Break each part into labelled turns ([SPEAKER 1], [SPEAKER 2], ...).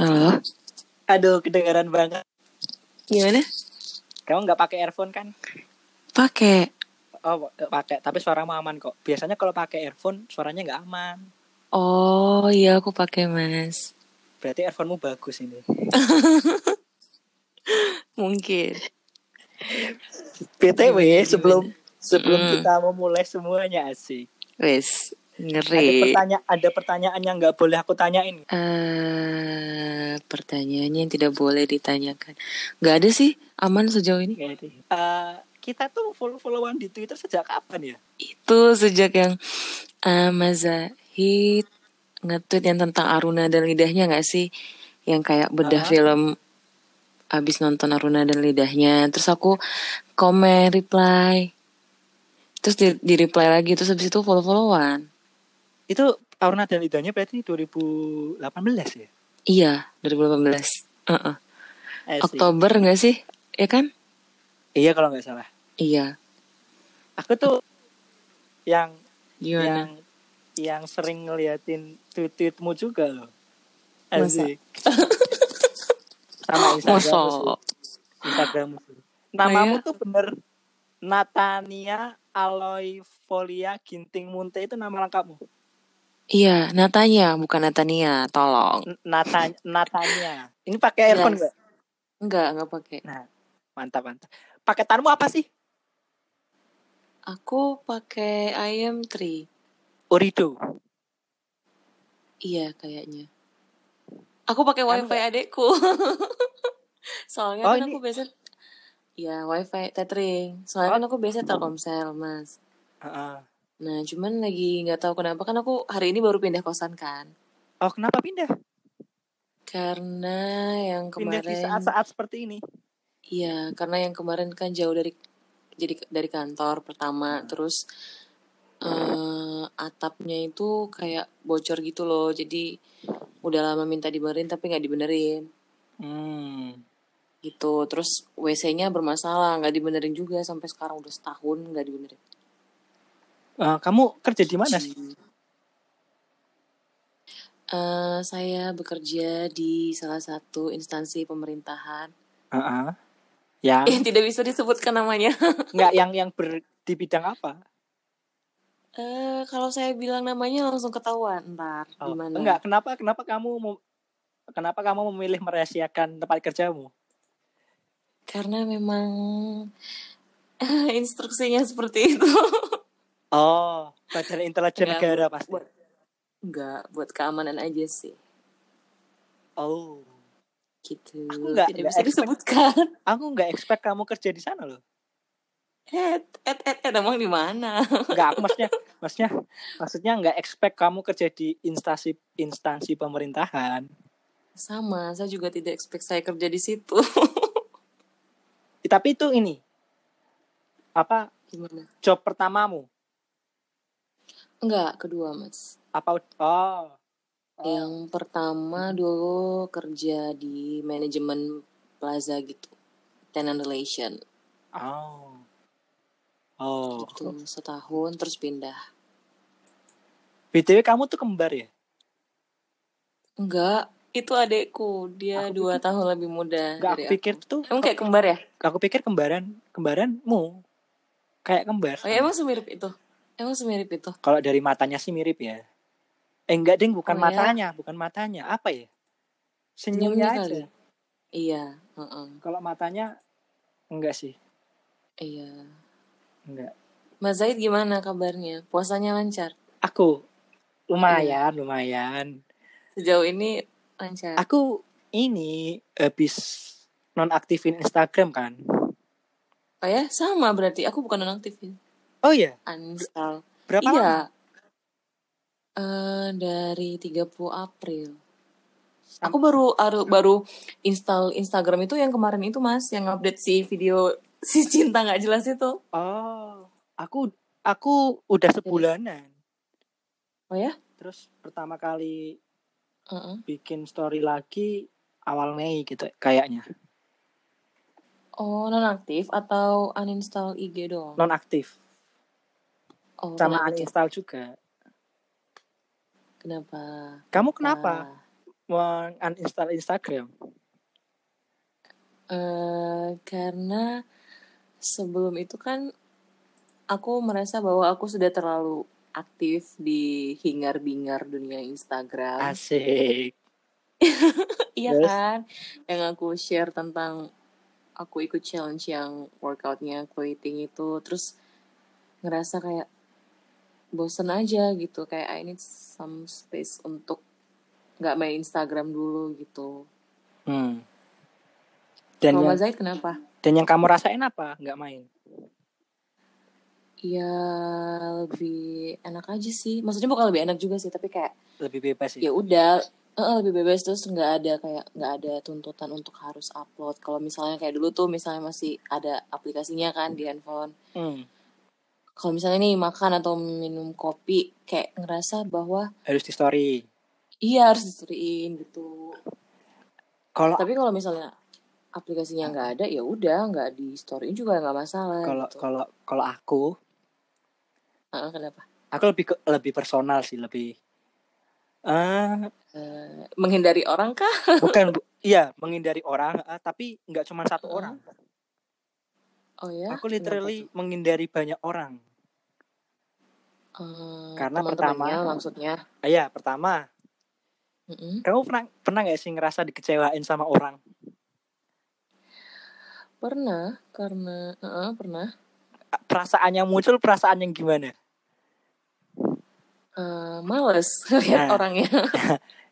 [SPEAKER 1] Halo,
[SPEAKER 2] Aduh, kedengaran banget.
[SPEAKER 1] gimana?
[SPEAKER 2] Kamu nggak pakai earphone kan?
[SPEAKER 1] Pakai.
[SPEAKER 2] Oh, nggak pakai. Tapi suaramu aman kok. Biasanya kalau pakai earphone, suaranya nggak aman.
[SPEAKER 1] Oh iya aku pakai mas.
[SPEAKER 2] Berarti earphonemu bagus ini.
[SPEAKER 1] Mungkin.
[SPEAKER 2] PTW, sebelum sebelum
[SPEAKER 1] Mm.
[SPEAKER 2] kita memulai semuanya asik.
[SPEAKER 1] Wes,
[SPEAKER 2] Ada
[SPEAKER 1] ngeri.
[SPEAKER 2] pertanyaan, ada pertanyaan yang nggak boleh aku tanyain.
[SPEAKER 1] Eh, pertanyaannya yang tidak boleh ditanyakan. Gak ada sih, aman sejauh ini.
[SPEAKER 2] Jadi, eh, kita tuh follow-followan di Twitter sejak kapan ya?
[SPEAKER 1] Itu sejak yang eh, Mas Zahid nge-tweet yang tentang Aruna dan lidahnya gak sih? Yang kayak bedah
[SPEAKER 2] Ah.
[SPEAKER 1] film abis nonton Aruna dan lidahnya. Terus aku komen, reply. Terus di, di reply lagi, terus habis itu follow-followan.
[SPEAKER 2] Itu Aruna dan Lidahnya berarti 2018 ya?
[SPEAKER 1] Iya, 2018. Heeh.
[SPEAKER 2] Asik.
[SPEAKER 1] Oktober nggak Iya sih? Ya kan?
[SPEAKER 2] Iya kalau nggak salah.
[SPEAKER 1] Iya.
[SPEAKER 2] Aku tuh yang yang
[SPEAKER 1] Gimana?
[SPEAKER 2] yang sering ngeliatin tweet-tweetmu juga loh.
[SPEAKER 1] Masa?
[SPEAKER 2] Asik. Sama Instagram sih.
[SPEAKER 1] Masa?
[SPEAKER 2] Instagram sih.
[SPEAKER 1] Kayak-
[SPEAKER 2] Namamu tuh bener Natania Aloy Folia Ginting Munte itu nama lengkapmu.
[SPEAKER 1] Iya, Natanya, bukan Natania. Tolong.
[SPEAKER 2] N- Nata Natania. Ini pakai earphone
[SPEAKER 1] Yes.
[SPEAKER 2] enggak?
[SPEAKER 1] Enggak, enggak pakai.
[SPEAKER 2] Mantap, mantap. Paketanmu apa sih?
[SPEAKER 1] Aku pakai IM3.
[SPEAKER 2] Urido.
[SPEAKER 1] Iya, kayaknya. Aku pakai
[SPEAKER 2] Anu
[SPEAKER 1] WiFi adekku. Soalnya
[SPEAKER 2] Oh,
[SPEAKER 1] kan
[SPEAKER 2] ini-
[SPEAKER 1] aku biasa Iya, WiFi tethering. Soalnya
[SPEAKER 2] Oh.
[SPEAKER 1] kan aku biasa Telkomsel, Mas.
[SPEAKER 2] Heeh.
[SPEAKER 1] Nah, cuman lagi nggak tahu kenapa kan aku hari ini baru pindah kosan kan.
[SPEAKER 2] Oh, kenapa pindah?
[SPEAKER 1] Karena yang
[SPEAKER 2] Pindah
[SPEAKER 1] kemarin
[SPEAKER 2] di saat-saat seperti ini.
[SPEAKER 1] Iya, karena yang kemarin kan jauh dari jadi dari kantor pertama,
[SPEAKER 2] Hmm.
[SPEAKER 1] terus eh, atapnya itu kayak bocor gitu loh. Jadi udah lama minta dibenerin tapi nggak dibenerin
[SPEAKER 2] Hmm.
[SPEAKER 1] gitu. Terus WC-nya bermasalah, nggak dibenerin juga sampai sekarang udah setahun nggak dibenerin.
[SPEAKER 2] Eh, kamu kerja di mana sih?
[SPEAKER 1] Eh, saya bekerja di salah satu instansi pemerintahan
[SPEAKER 2] Heeh. Yang
[SPEAKER 1] yang tidak bisa disebutkan namanya.
[SPEAKER 2] nggak yang yang ber, di bidang apa?
[SPEAKER 1] Eh, kalau saya bilang namanya langsung ketahuan ntar
[SPEAKER 2] Oh,
[SPEAKER 1] gimana?
[SPEAKER 2] enggak, kenapa kenapa kamu mem- kenapa kamu memilih merahasiakan tempat kerjamu?
[SPEAKER 1] karena memang instruksinya seperti itu
[SPEAKER 2] Oh, badan intelijen
[SPEAKER 1] Enggak,
[SPEAKER 2] negara pasti.
[SPEAKER 1] buat- nggak buat keamanan aja sih
[SPEAKER 2] Oh,
[SPEAKER 1] gitu
[SPEAKER 2] Aku nggak-
[SPEAKER 1] tidak
[SPEAKER 2] nggak
[SPEAKER 1] bisa
[SPEAKER 2] expect-
[SPEAKER 1] disebutkan
[SPEAKER 2] aku nggak expect kamu kerja di sana loh.
[SPEAKER 1] et et et et emang di mana
[SPEAKER 2] Enggak, aku maksudnya maksudnya maksudnya nggak expect kamu kerja di instansi instansi pemerintahan.
[SPEAKER 1] sama saya juga tidak expect saya kerja di situ
[SPEAKER 2] Eh, Tapi itu ini apa
[SPEAKER 1] gimana
[SPEAKER 2] job pertamamu?
[SPEAKER 1] nggak kedua mas
[SPEAKER 2] Apa ud- oh. oh.
[SPEAKER 1] yang pertama dulu kerja di manajemen plaza gitu tenant relation
[SPEAKER 2] Oh. Oh.
[SPEAKER 1] gitu setahun terus pindah
[SPEAKER 2] BTW kamu tuh kembar
[SPEAKER 1] Nah,
[SPEAKER 2] ya?
[SPEAKER 1] enggak itu adekku dia
[SPEAKER 2] Aku
[SPEAKER 1] dua tahun lebih muda
[SPEAKER 2] Enggak,
[SPEAKER 1] dari
[SPEAKER 2] aku
[SPEAKER 1] aku.
[SPEAKER 2] pikir tuh
[SPEAKER 1] Emang kayak kembar ya?
[SPEAKER 2] aku pikir kembaran kembaranmu kayak kembar
[SPEAKER 1] Oh, ya, emang semirip itu? Emang semirip itu?
[SPEAKER 2] kalau dari matanya sih mirip ya eh enggak ding bukan
[SPEAKER 1] Oh, ya?
[SPEAKER 2] matanya bukan matanya apa ya senyumnya
[SPEAKER 1] Senyumnya
[SPEAKER 2] aja
[SPEAKER 1] kali. ya? Iya, heeh,
[SPEAKER 2] kalau matanya enggak sih
[SPEAKER 1] iya.
[SPEAKER 2] enggak
[SPEAKER 1] Mas Zaid gimana kabarnya? Puasanya lancar?
[SPEAKER 2] aku lumayan lumayan
[SPEAKER 1] Sejauh ini lancar.
[SPEAKER 2] aku ini habis nonaktifin Instagram kan
[SPEAKER 1] Oh ya, sama berarti. Aku bukan nonaktifin.
[SPEAKER 2] oh iya
[SPEAKER 1] Uninstall.
[SPEAKER 2] berapa
[SPEAKER 1] iya.
[SPEAKER 2] lama
[SPEAKER 1] Eh, dari 30 April. Aku baru baru baru install Instagram itu yang kemarin itu Mas, yang update si video si cinta nggak jelas itu.
[SPEAKER 2] oh aku aku udah sebulanan
[SPEAKER 1] Oh ya?
[SPEAKER 2] terus pertama kali
[SPEAKER 1] Heeh.
[SPEAKER 2] bikin story lagi awal Mei gitu kayaknya
[SPEAKER 1] Oh, nonaktif atau uninstall IG doang?
[SPEAKER 2] non aktif
[SPEAKER 1] Oh,
[SPEAKER 2] sama
[SPEAKER 1] nonaktif.
[SPEAKER 2] uninstall juga
[SPEAKER 1] Kenapa?
[SPEAKER 2] kamu kenapa
[SPEAKER 1] Ah,
[SPEAKER 2] menguninstall Instagram?
[SPEAKER 1] Eh, karena sebelum itu kan aku merasa bahwa aku sudah terlalu aktif di hingar-bingar dunia Instagram.
[SPEAKER 2] Asik.
[SPEAKER 1] Iya
[SPEAKER 2] Terus?
[SPEAKER 1] kan? Yang aku share tentang aku ikut challenge yang workoutnya quilting itu. Terus ngerasa kayak bosen aja gitu. Kayak I need some space untuk nggak main Instagram dulu gitu.
[SPEAKER 2] Hmm. Dan
[SPEAKER 1] Kalau
[SPEAKER 2] yang
[SPEAKER 1] Mas Zaid kenapa?
[SPEAKER 2] dan yang kamu rasain apa? Nggak main.
[SPEAKER 1] Ya lebih enak aja sih. Maksudnya bukan lebih enak juga sih, tapi kayak
[SPEAKER 2] Lebih bebas sih.
[SPEAKER 1] ya udah eh, lebih bebas terus nggak ada kayak nggak ada tuntutan untuk harus upload. Kalau misalnya kayak dulu tuh misalnya masih ada aplikasinya kan di handphone.
[SPEAKER 2] Hmm.
[SPEAKER 1] Kalau misalnya nih makan atau minum kopi kayak ngerasa bahwa
[SPEAKER 2] Harus di story.
[SPEAKER 1] iya harus diserin gitu.
[SPEAKER 2] Kalau
[SPEAKER 1] Tapi kalau misalnya aplikasinya nggak ada ya udah nggak di storyin juga nggak masalah
[SPEAKER 2] kalau
[SPEAKER 1] gitu.
[SPEAKER 2] kalau kalau aku,
[SPEAKER 1] Ah, kenapa?
[SPEAKER 2] aku lebih ke- lebih personal sih, lebih eh
[SPEAKER 1] Eh, menghindari orang kah?
[SPEAKER 2] bukan bu- iya menghindari orang, eh, tapi nggak cuma satu
[SPEAKER 1] Heeh.
[SPEAKER 2] orang.
[SPEAKER 1] Oh ya,
[SPEAKER 2] Aku
[SPEAKER 1] kenapa
[SPEAKER 2] literally
[SPEAKER 1] tuh?
[SPEAKER 2] menghindari banyak orang
[SPEAKER 1] Eh,
[SPEAKER 2] karena
[SPEAKER 1] teman-temannya
[SPEAKER 2] pertama,
[SPEAKER 1] maksudnya.
[SPEAKER 2] ah, ya pertama,
[SPEAKER 1] Mm-mm.
[SPEAKER 2] kamu pernah pernah nggak sih ngerasa dikecewain sama orang?
[SPEAKER 1] Pernah karena eh, pernah
[SPEAKER 2] Perasaan yang muncul perasaan yang gimana?
[SPEAKER 1] Eh, males lihat
[SPEAKER 2] Nah,
[SPEAKER 1] orangnya.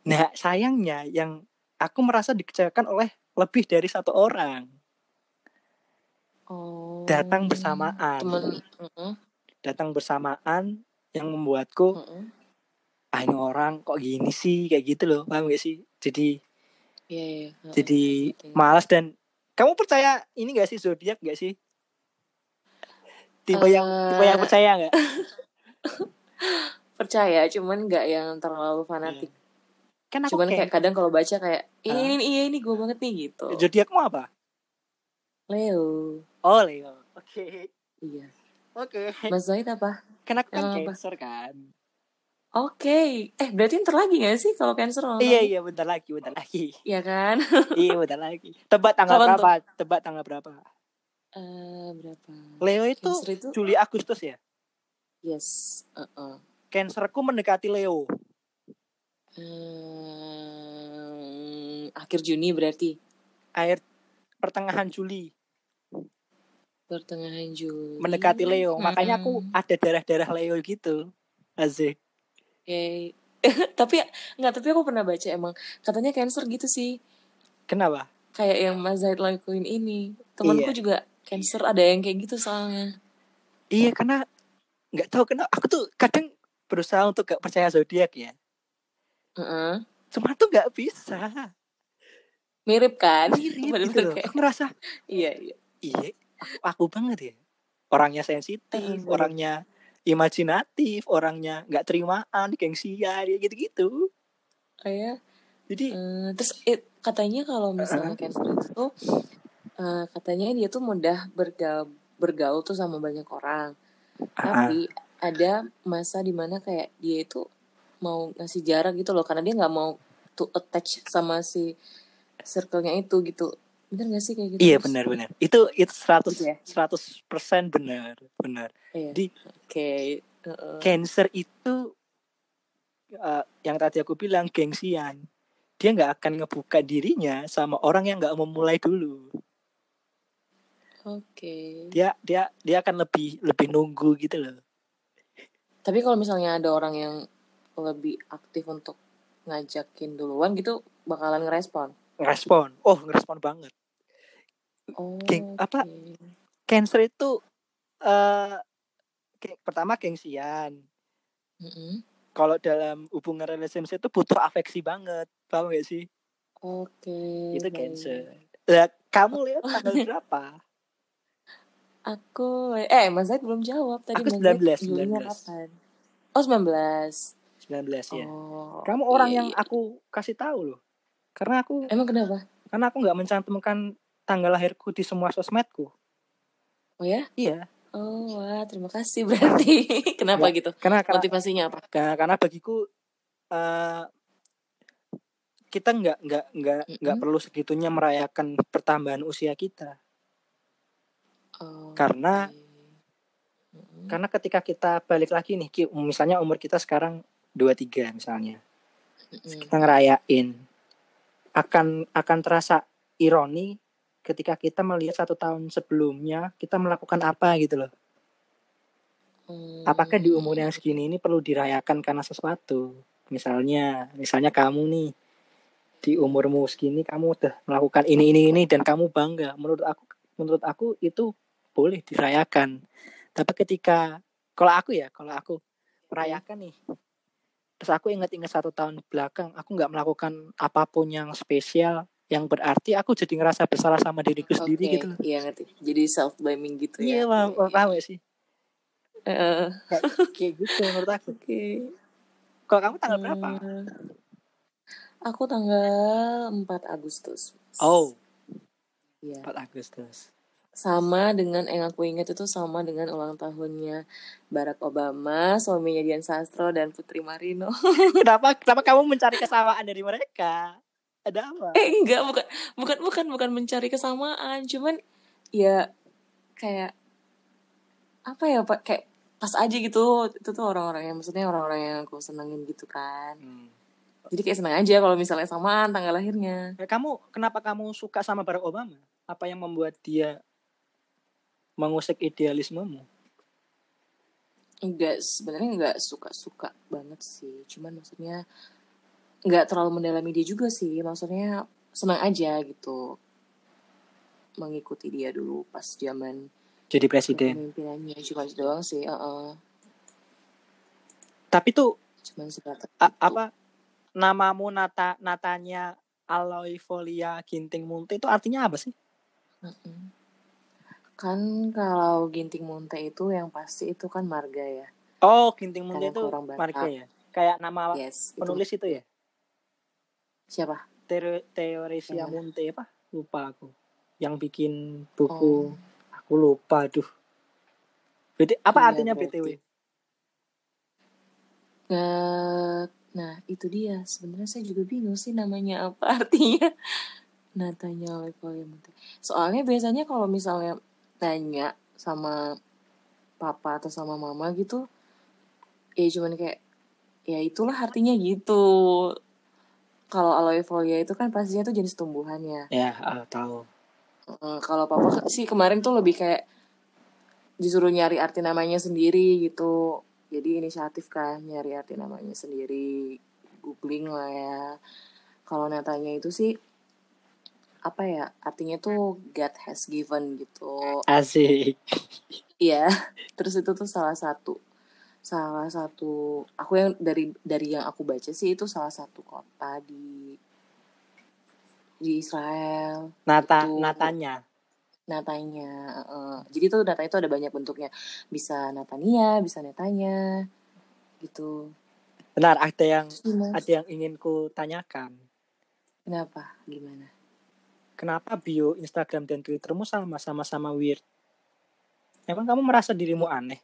[SPEAKER 2] Nah, sayangnya yang aku merasa dikecewakan oleh lebih dari satu orang datang
[SPEAKER 1] Oh,
[SPEAKER 2] bersamaan,
[SPEAKER 1] temen. Heeh,
[SPEAKER 2] datang bersamaan yang membuatku
[SPEAKER 1] heeh.
[SPEAKER 2] ah ini orang kok gini sih kayak gitu loh, paham gak sih? Jadi
[SPEAKER 1] Iya, iya, heeh, heeh,
[SPEAKER 2] jadi
[SPEAKER 1] ngerti, ngerti.
[SPEAKER 2] malas dan kamu percaya ini gak sih zodiak gak sih? Tipe yang tipe yang
[SPEAKER 1] Eh,
[SPEAKER 2] percaya nggak?
[SPEAKER 1] percaya, cuman nggak yang terlalu
[SPEAKER 2] Iya.
[SPEAKER 1] fanatik.
[SPEAKER 2] Kan aku
[SPEAKER 1] Cuman kayak
[SPEAKER 2] kayak
[SPEAKER 1] kadang kalau baca kayak ini
[SPEAKER 2] ah,
[SPEAKER 1] ini ini, ini gue banget nih gitu.
[SPEAKER 2] zodiakmu apa?
[SPEAKER 1] Leo,
[SPEAKER 2] Oh Leo. Oke.
[SPEAKER 1] iya.
[SPEAKER 2] Oke.
[SPEAKER 1] Mas Zaid apa?
[SPEAKER 2] Kan aku kan
[SPEAKER 1] Emang apa?
[SPEAKER 2] cancer kan.
[SPEAKER 1] Oke, eh berarti ntar lagi nggak sih kalau cancer ulang
[SPEAKER 2] Iya
[SPEAKER 1] tahunnya?
[SPEAKER 2] iya bentar lagi bentar lagi.
[SPEAKER 1] Iya kan?
[SPEAKER 2] Iya, bentar lagi. Tebak tanggal
[SPEAKER 1] Kapan tuh?
[SPEAKER 2] berapa? Tebak tanggal berapa?
[SPEAKER 1] Eh, berapa?
[SPEAKER 2] Leo itu
[SPEAKER 1] Cancer itu?
[SPEAKER 2] Juli Agustus ya.
[SPEAKER 1] Yes. Heeh.
[SPEAKER 2] Cancerku mendekati Leo.
[SPEAKER 1] Hmm, akhir Juni berarti
[SPEAKER 2] Akhir pertengahan Juli
[SPEAKER 1] pertengahan
[SPEAKER 2] mendekati
[SPEAKER 1] Juli.
[SPEAKER 2] Leo. Makanya aku
[SPEAKER 1] Hmm.
[SPEAKER 2] ada darah-darah Leo gitu. Asik.
[SPEAKER 1] Oke. tapi nggak tapi aku pernah baca emang katanya cancer gitu sih
[SPEAKER 2] Kenapa?
[SPEAKER 1] kayak yang Mas Zaid lakuin ini temanku
[SPEAKER 2] Iya.
[SPEAKER 1] juga cancer ada yang kayak gitu soalnya
[SPEAKER 2] Iya, karena nggak tahu kenapa aku tuh kadang berusaha untuk gak percaya zodiak ya.
[SPEAKER 1] Heeh.
[SPEAKER 2] Cuma tuh nggak bisa.
[SPEAKER 1] mirip kan
[SPEAKER 2] Mirip gitu
[SPEAKER 1] bener-bener
[SPEAKER 2] loh.
[SPEAKER 1] kayak
[SPEAKER 2] Aku ngerasa,
[SPEAKER 1] iya iya
[SPEAKER 2] iya, aku, aku banget ya. Orangnya sensitif,
[SPEAKER 1] Heeh, bener
[SPEAKER 2] orangnya imajinatif, orangnya nggak terimaan, gengsian, ya gitu-gitu.
[SPEAKER 1] oh, ya
[SPEAKER 2] Jadi
[SPEAKER 1] Eh, terus it- katanya kalau misalnya cancer itu tuh eh, katanya dia tuh mudah bergaul bergaul tuh sama banyak orang
[SPEAKER 2] Ah,
[SPEAKER 1] tapi ada masa dimana kayak dia itu mau ngasih jarak gitu loh karena dia nggak mau to attach sama si circle-nya itu gitu bener gak sih kayak gitu
[SPEAKER 2] iya
[SPEAKER 1] mas
[SPEAKER 2] benar-benar. Itu itu 100
[SPEAKER 1] gitu ya
[SPEAKER 2] 100% benar, benar.
[SPEAKER 1] iya
[SPEAKER 2] Di
[SPEAKER 1] oke Heeh.
[SPEAKER 2] cancer itu eh, yang tadi aku bilang gengsian. Dia nggak akan ngebuka dirinya sama orang yang nggak memulai dulu.
[SPEAKER 1] oke
[SPEAKER 2] Dia dia dia akan lebih lebih nunggu gitu loh.
[SPEAKER 1] tapi kalau misalnya ada orang yang lebih aktif untuk ngajakin duluan gitu bakalan ngerespon
[SPEAKER 2] Respon. Oh, ngerespon banget. Geng apa
[SPEAKER 1] oke
[SPEAKER 2] cancer itu eh geng- pertama gengsian.
[SPEAKER 1] Mm-mm.
[SPEAKER 2] Kalau dalam hubungan relationship itu butuh afeksi banget. Paham gak sih?
[SPEAKER 1] oke
[SPEAKER 2] Itu cancer.
[SPEAKER 1] baik
[SPEAKER 2] Lah, kamu lihat tanggal berapa?
[SPEAKER 1] aku eh Mas Zaid belum jawab tadi
[SPEAKER 2] Aku
[SPEAKER 1] Mas Zaid
[SPEAKER 2] 19,
[SPEAKER 1] Julinya
[SPEAKER 2] 19.
[SPEAKER 1] kapan oh 19
[SPEAKER 2] 19 ya.
[SPEAKER 1] oh
[SPEAKER 2] Kamu
[SPEAKER 1] iya
[SPEAKER 2] orang yang
[SPEAKER 1] iya
[SPEAKER 2] aku kasih tahu loh. Karena aku
[SPEAKER 1] emang kenapa
[SPEAKER 2] karena aku nggak mencantumkan tanggal lahirku di semua sosmedku.
[SPEAKER 1] oh ya
[SPEAKER 2] Iya,
[SPEAKER 1] Oh, wah, terima kasih berarti. Kenapa
[SPEAKER 2] nggak
[SPEAKER 1] gitu?
[SPEAKER 2] karena karena
[SPEAKER 1] Motivasinya apa?
[SPEAKER 2] karena, karena bagiku eh kita nggak nggak nggak
[SPEAKER 1] Mm-mm.
[SPEAKER 2] nggak perlu segitunya merayakan pertambahan usia kita
[SPEAKER 1] Oh,
[SPEAKER 2] Karena-
[SPEAKER 1] oke. Oh, Mm-mm.
[SPEAKER 2] Hmm. karena ketika kita balik lagi nih Ki, misalnya umur kita sekarang 23 misalnya
[SPEAKER 1] Mm-mm.
[SPEAKER 2] kita ngerayain akan akan terasa ironi ketika kita melihat satu tahun sebelumnya kita melakukan apa gitu loh
[SPEAKER 1] Hmm.
[SPEAKER 2] apakah di umur yang segini ini perlu dirayakan karena sesuatu misalnya misalnya kamu nih di umurmu segini kamu udah melakukan ini ini ini dan kamu bangga menurut aku menurut aku itu boleh dirayakan tapi ketika kalau aku ya kalau aku merayakan nih terus aku ingat-ingat satu tahun belakang aku nggak melakukan apapun yang spesial yang berarti aku jadi ngerasa bersalah sama diriku sendiri
[SPEAKER 1] Oke,
[SPEAKER 2] gitu loh
[SPEAKER 1] iya ngerti. Jadi self blaming gitu ya.
[SPEAKER 2] iya paham paham gak sih
[SPEAKER 1] Eh, eh,
[SPEAKER 2] kayak, kayak gitu menurut aku
[SPEAKER 1] Oke.
[SPEAKER 2] kalau kamu tanggal berapa
[SPEAKER 1] Hmm. Aku tanggal 4 Agustus.
[SPEAKER 2] oh
[SPEAKER 1] Iya.
[SPEAKER 2] 4 Agustus
[SPEAKER 1] Sama dengan yang aku ingat itu sama dengan ulang tahunnya Barack Obama, suaminya Dian Sastro dan Putri Marino.
[SPEAKER 2] kenapa kenapa kamu mencari kesamaan dari mereka ada apa
[SPEAKER 1] eh enggak, bukan bukan bukan bukan mencari kesamaan, cuman ya kayak apa ya Pak kayak pas aja gitu itu tuh orang-orang yang maksudnya orang-orang yang aku senengin gitu kan
[SPEAKER 2] Hmm.
[SPEAKER 1] jadi kayak seneng aja kalau misalnya samaan tanggal lahirnya
[SPEAKER 2] Nah, kamu kenapa kamu suka sama Barack Obama? Apa yang membuat dia mengusik idealismemu?
[SPEAKER 1] enggak sebenarnya enggak suka-suka banget sih cuman maksudnya enggak terlalu mendalami dia juga sih maksudnya seneng aja gitu mengikuti dia dulu pas zaman
[SPEAKER 2] Jadi presiden.
[SPEAKER 1] kepemimpinannya cuman itu doang sih heeh.
[SPEAKER 2] Tapi tuh
[SPEAKER 1] cuman sebatas
[SPEAKER 2] a-
[SPEAKER 1] itu
[SPEAKER 2] apa namamu Nata Natanya Aloifolia Ginting Munti itu artinya apa sih?
[SPEAKER 1] Heeh. kan kalau ginting munte itu yang pasti itu kan marga ya
[SPEAKER 2] Oh, Ginting
[SPEAKER 1] kan
[SPEAKER 2] Munti
[SPEAKER 1] yang ke
[SPEAKER 2] itu
[SPEAKER 1] orang
[SPEAKER 2] marga
[SPEAKER 1] Batak
[SPEAKER 2] ya. Kayak nama
[SPEAKER 1] yes itu
[SPEAKER 2] penulis itu ya.
[SPEAKER 1] siapa
[SPEAKER 2] Teo-
[SPEAKER 1] Yang
[SPEAKER 2] Teoresia
[SPEAKER 1] mana?
[SPEAKER 2] Munte apa? Lupa aku. Yang bikin
[SPEAKER 1] Oh,
[SPEAKER 2] buku aku lupa aduh. BT apa
[SPEAKER 1] iya
[SPEAKER 2] artinya
[SPEAKER 1] berarti.
[SPEAKER 2] BTW?
[SPEAKER 1] Eh, Nah, itu dia. Sebenarnya saya juga bingung sih namanya apa artinya. Natanya oleh poliamante. Soalnya biasanya kalau misalnya tanya sama papa atau sama mama gitu, ya cuman kayak, ya itulah artinya gitu. Kalau aloe folia itu kan pastinya itu jenis tumbuhannya.
[SPEAKER 2] Ya, ah, tahu.
[SPEAKER 1] Eh, kalau papa ke- sih kemarin tuh lebih kayak disuruh nyari arti namanya sendiri gitu jadi inisiatif kan nyari arti namanya sendiri googling lah ya kalau natanya itu sih apa ya artinya tuh God has given gitu
[SPEAKER 2] Asik.
[SPEAKER 1] iya terus itu tuh salah satu salah satu aku yang dari dari yang aku baca sih itu salah satu kota di di Israel
[SPEAKER 2] Nata
[SPEAKER 1] itu
[SPEAKER 2] Natanya
[SPEAKER 1] natanya eh, jadi tuh nata itu ada banyak bentuknya bisa natania bisa netanya gitu
[SPEAKER 2] Benar, ada yang
[SPEAKER 1] Terus gimana?
[SPEAKER 2] ada yang ingin ku tanyakan.
[SPEAKER 1] Kenapa? Gimana?
[SPEAKER 2] Kenapa bio Instagram dan Twittermu sama sama sama weird? Emang kamu merasa dirimu aneh?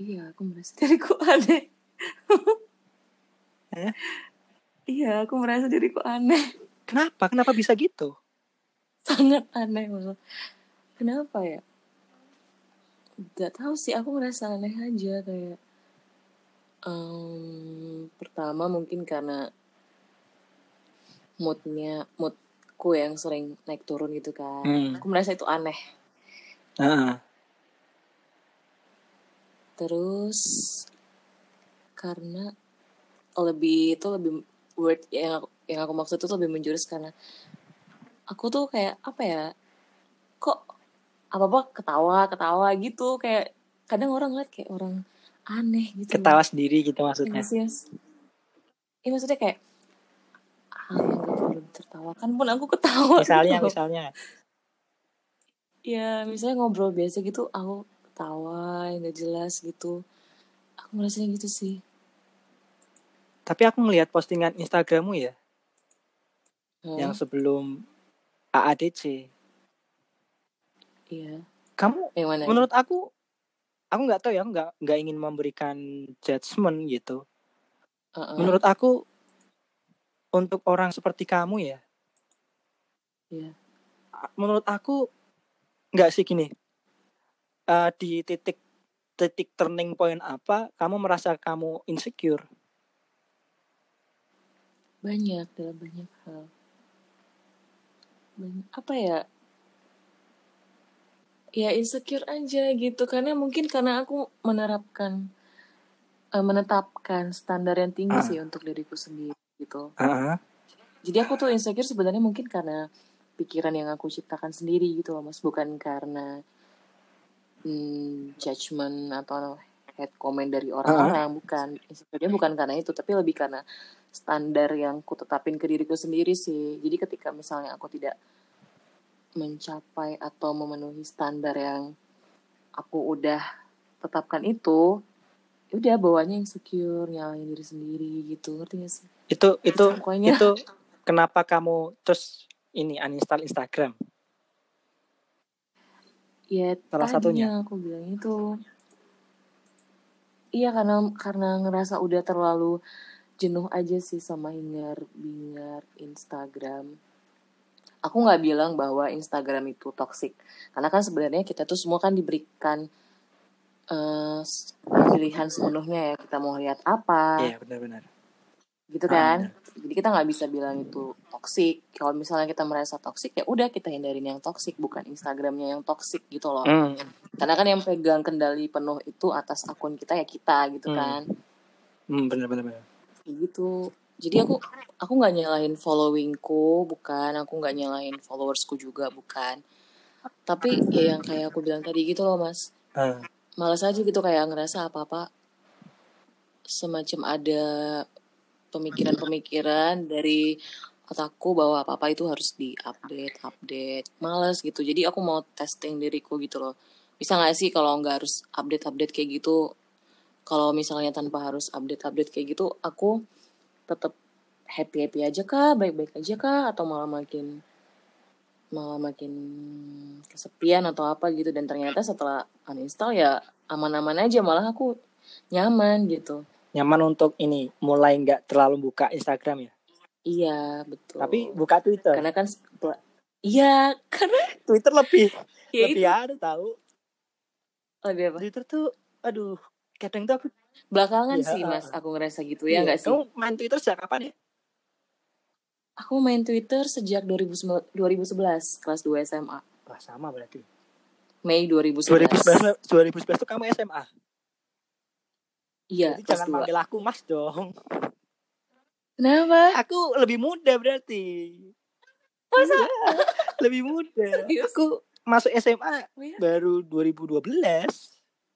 [SPEAKER 1] Iya, aku merasa diriku aneh.
[SPEAKER 2] Eh?
[SPEAKER 1] Iya, aku merasa diriku aneh.
[SPEAKER 2] Kenapa? Kenapa bisa gitu?
[SPEAKER 1] Sangat aneh malah. Kenapa ya? Gak tahu sih, aku merasa aneh aja kayak. em, pertama mungkin karena moodnya, moodku yang sering naik turun gitu kan.
[SPEAKER 2] Hmm.
[SPEAKER 1] Aku merasa itu aneh.
[SPEAKER 2] Heeh.
[SPEAKER 1] Terus karena lebih itu lebih word yang aku, yang aku maksud itu lebih menjurus karena aku tuh kayak apa ya? Kok apa apa ketawa ketawa gitu kayak kadang orang ngeliat kayak orang aneh gitu loh
[SPEAKER 2] Ketawa sendiri gitu
[SPEAKER 1] ya nggak
[SPEAKER 2] maksudnya.
[SPEAKER 1] sih Yas? Iya, maksudnya kayak "Ah, hal yang gak perlu ditertawakan Kan pun aku ketawa gitu
[SPEAKER 2] Misalnya,
[SPEAKER 1] loh
[SPEAKER 2] misalnya.
[SPEAKER 1] ya misalnya ngobrol biasa gitu aku ketawa yang gak jelas gitu aku ngerasanya gitu sih
[SPEAKER 2] Tapi aku ngelihat postingan Instagrammu ya, yang
[SPEAKER 1] Hah?
[SPEAKER 2] sebelum AADC.
[SPEAKER 1] iya
[SPEAKER 2] Kamu,
[SPEAKER 1] yang mana itu
[SPEAKER 2] menurut aku, aku nggak tahu ya, aku nggak nggak ingin memberikan judgement gitu.
[SPEAKER 1] Heeh.
[SPEAKER 2] Menurut aku, untuk orang seperti kamu ya.
[SPEAKER 1] Iya.
[SPEAKER 2] Menurut aku nggak sih gini. Eh, di titik titik turning point apa kamu merasa kamu insecure?
[SPEAKER 1] banyak dalam banyak hal Banyak- apa ya ya insecure aja gitu karena mungkin karena aku menerapkan eh, menetapkan standar yang tinggi
[SPEAKER 2] Ah.
[SPEAKER 1] sih untuk diriku sendiri gitu
[SPEAKER 2] Ah,
[SPEAKER 1] jadi aku tuh insecure sebenarnya mungkin karena pikiran yang aku ciptakan sendiri gitu loh mas bukan karena hmm, judgement atau head comment dari
[SPEAKER 2] Ah,
[SPEAKER 1] orang-orang bukan insecure bukan karena itu tapi lebih karena standar yang ku tetapin ke diriku sendiri sih jadi ketika misalnya aku tidak mencapai atau memenuhi standar yang aku udah tetapkan itu ya udah bawanya insecure nyalain diri sendiri gitu ngerti gak sih
[SPEAKER 2] itu itu
[SPEAKER 1] pokoknya
[SPEAKER 2] itu kenapa kamu terus ini uninstall Instagram?
[SPEAKER 1] ya
[SPEAKER 2] Salah
[SPEAKER 1] tadi yang
[SPEAKER 2] satunya.
[SPEAKER 1] aku bilang itu iya karena karena ngerasa udah terlalu jenuh aja sih sama hingar bingar Instagram aku nggak bilang bahwa Instagram itu toxic karena kan sebenarnya kita tuh semua kan diberikan eh, pilihan sepenuhnya ya kita mau lihat apa
[SPEAKER 2] Iya, benar-benar.
[SPEAKER 1] gitu
[SPEAKER 2] Ah,
[SPEAKER 1] Ah. kan jadi kita nggak bisa bilang itu toksik kalau misalnya kita merasa toksik ya udah kita hindarin yang toksik bukan Instagramnya yang toksik gitu loh
[SPEAKER 2] Hmm,
[SPEAKER 1] karena kan yang pegang kendali penuh itu atas akun kita ya kita gitu
[SPEAKER 2] Hmm.
[SPEAKER 1] kan
[SPEAKER 2] hmm, benar-benar. benar.
[SPEAKER 1] Kayak gitu jadi aku aku nggak nyalahin followingku bukan aku nggak nyalahin followersku juga bukan tapi ya yang kayak aku bilang tadi gitu loh mas
[SPEAKER 2] Ah,
[SPEAKER 1] malas aja gitu kayak ngerasa apa apa semacam ada pemikiran-pemikiran dari otakku bahwa apa-apa itu harus di-update, update. Males gitu. Jadi aku mau testing diriku gitu loh. Bisa nggak sih kalau nggak harus update-update kayak gitu? Kalau misalnya tanpa harus update-update kayak gitu, aku tetap happy-happy aja kah? Baik-baik aja kah? Atau malah makin malah makin kesepian atau apa gitu dan ternyata setelah uninstall ya aman-aman aja malah aku nyaman gitu
[SPEAKER 2] nyaman untuk ini mulai nggak terlalu buka Instagram ya,
[SPEAKER 1] iya betul
[SPEAKER 2] tapi buka Twitter.
[SPEAKER 1] karena kan pel- iya karena
[SPEAKER 2] Twitter lebih
[SPEAKER 1] ya
[SPEAKER 2] lebih
[SPEAKER 1] itu
[SPEAKER 2] ada tahu.
[SPEAKER 1] lebih apa
[SPEAKER 2] Twitter tuh aduh kadang tuh aku
[SPEAKER 1] belakangan
[SPEAKER 2] ya
[SPEAKER 1] sih
[SPEAKER 2] ah,
[SPEAKER 1] mas
[SPEAKER 2] ah.
[SPEAKER 1] aku ngerasa gitu
[SPEAKER 2] Iya,
[SPEAKER 1] ya nggak sih
[SPEAKER 2] kamu main Twitter sejak kapan ya?
[SPEAKER 1] aku main Twitter sejak 2009 2011 kelas 2 SMA
[SPEAKER 2] Wah, sama berarti.
[SPEAKER 1] Mei 2011
[SPEAKER 2] 2011 2011 tuh kamu SMA.
[SPEAKER 1] iya
[SPEAKER 2] Berarti
[SPEAKER 1] kelas
[SPEAKER 2] jangan
[SPEAKER 1] 2
[SPEAKER 2] manggil aku Mas dong.
[SPEAKER 1] kenapa
[SPEAKER 2] Aku lebih muda berarti.
[SPEAKER 1] masa
[SPEAKER 2] Iya, lebih muda.
[SPEAKER 1] serius
[SPEAKER 2] Aku masuk SMA
[SPEAKER 1] oh iya
[SPEAKER 2] baru 2012.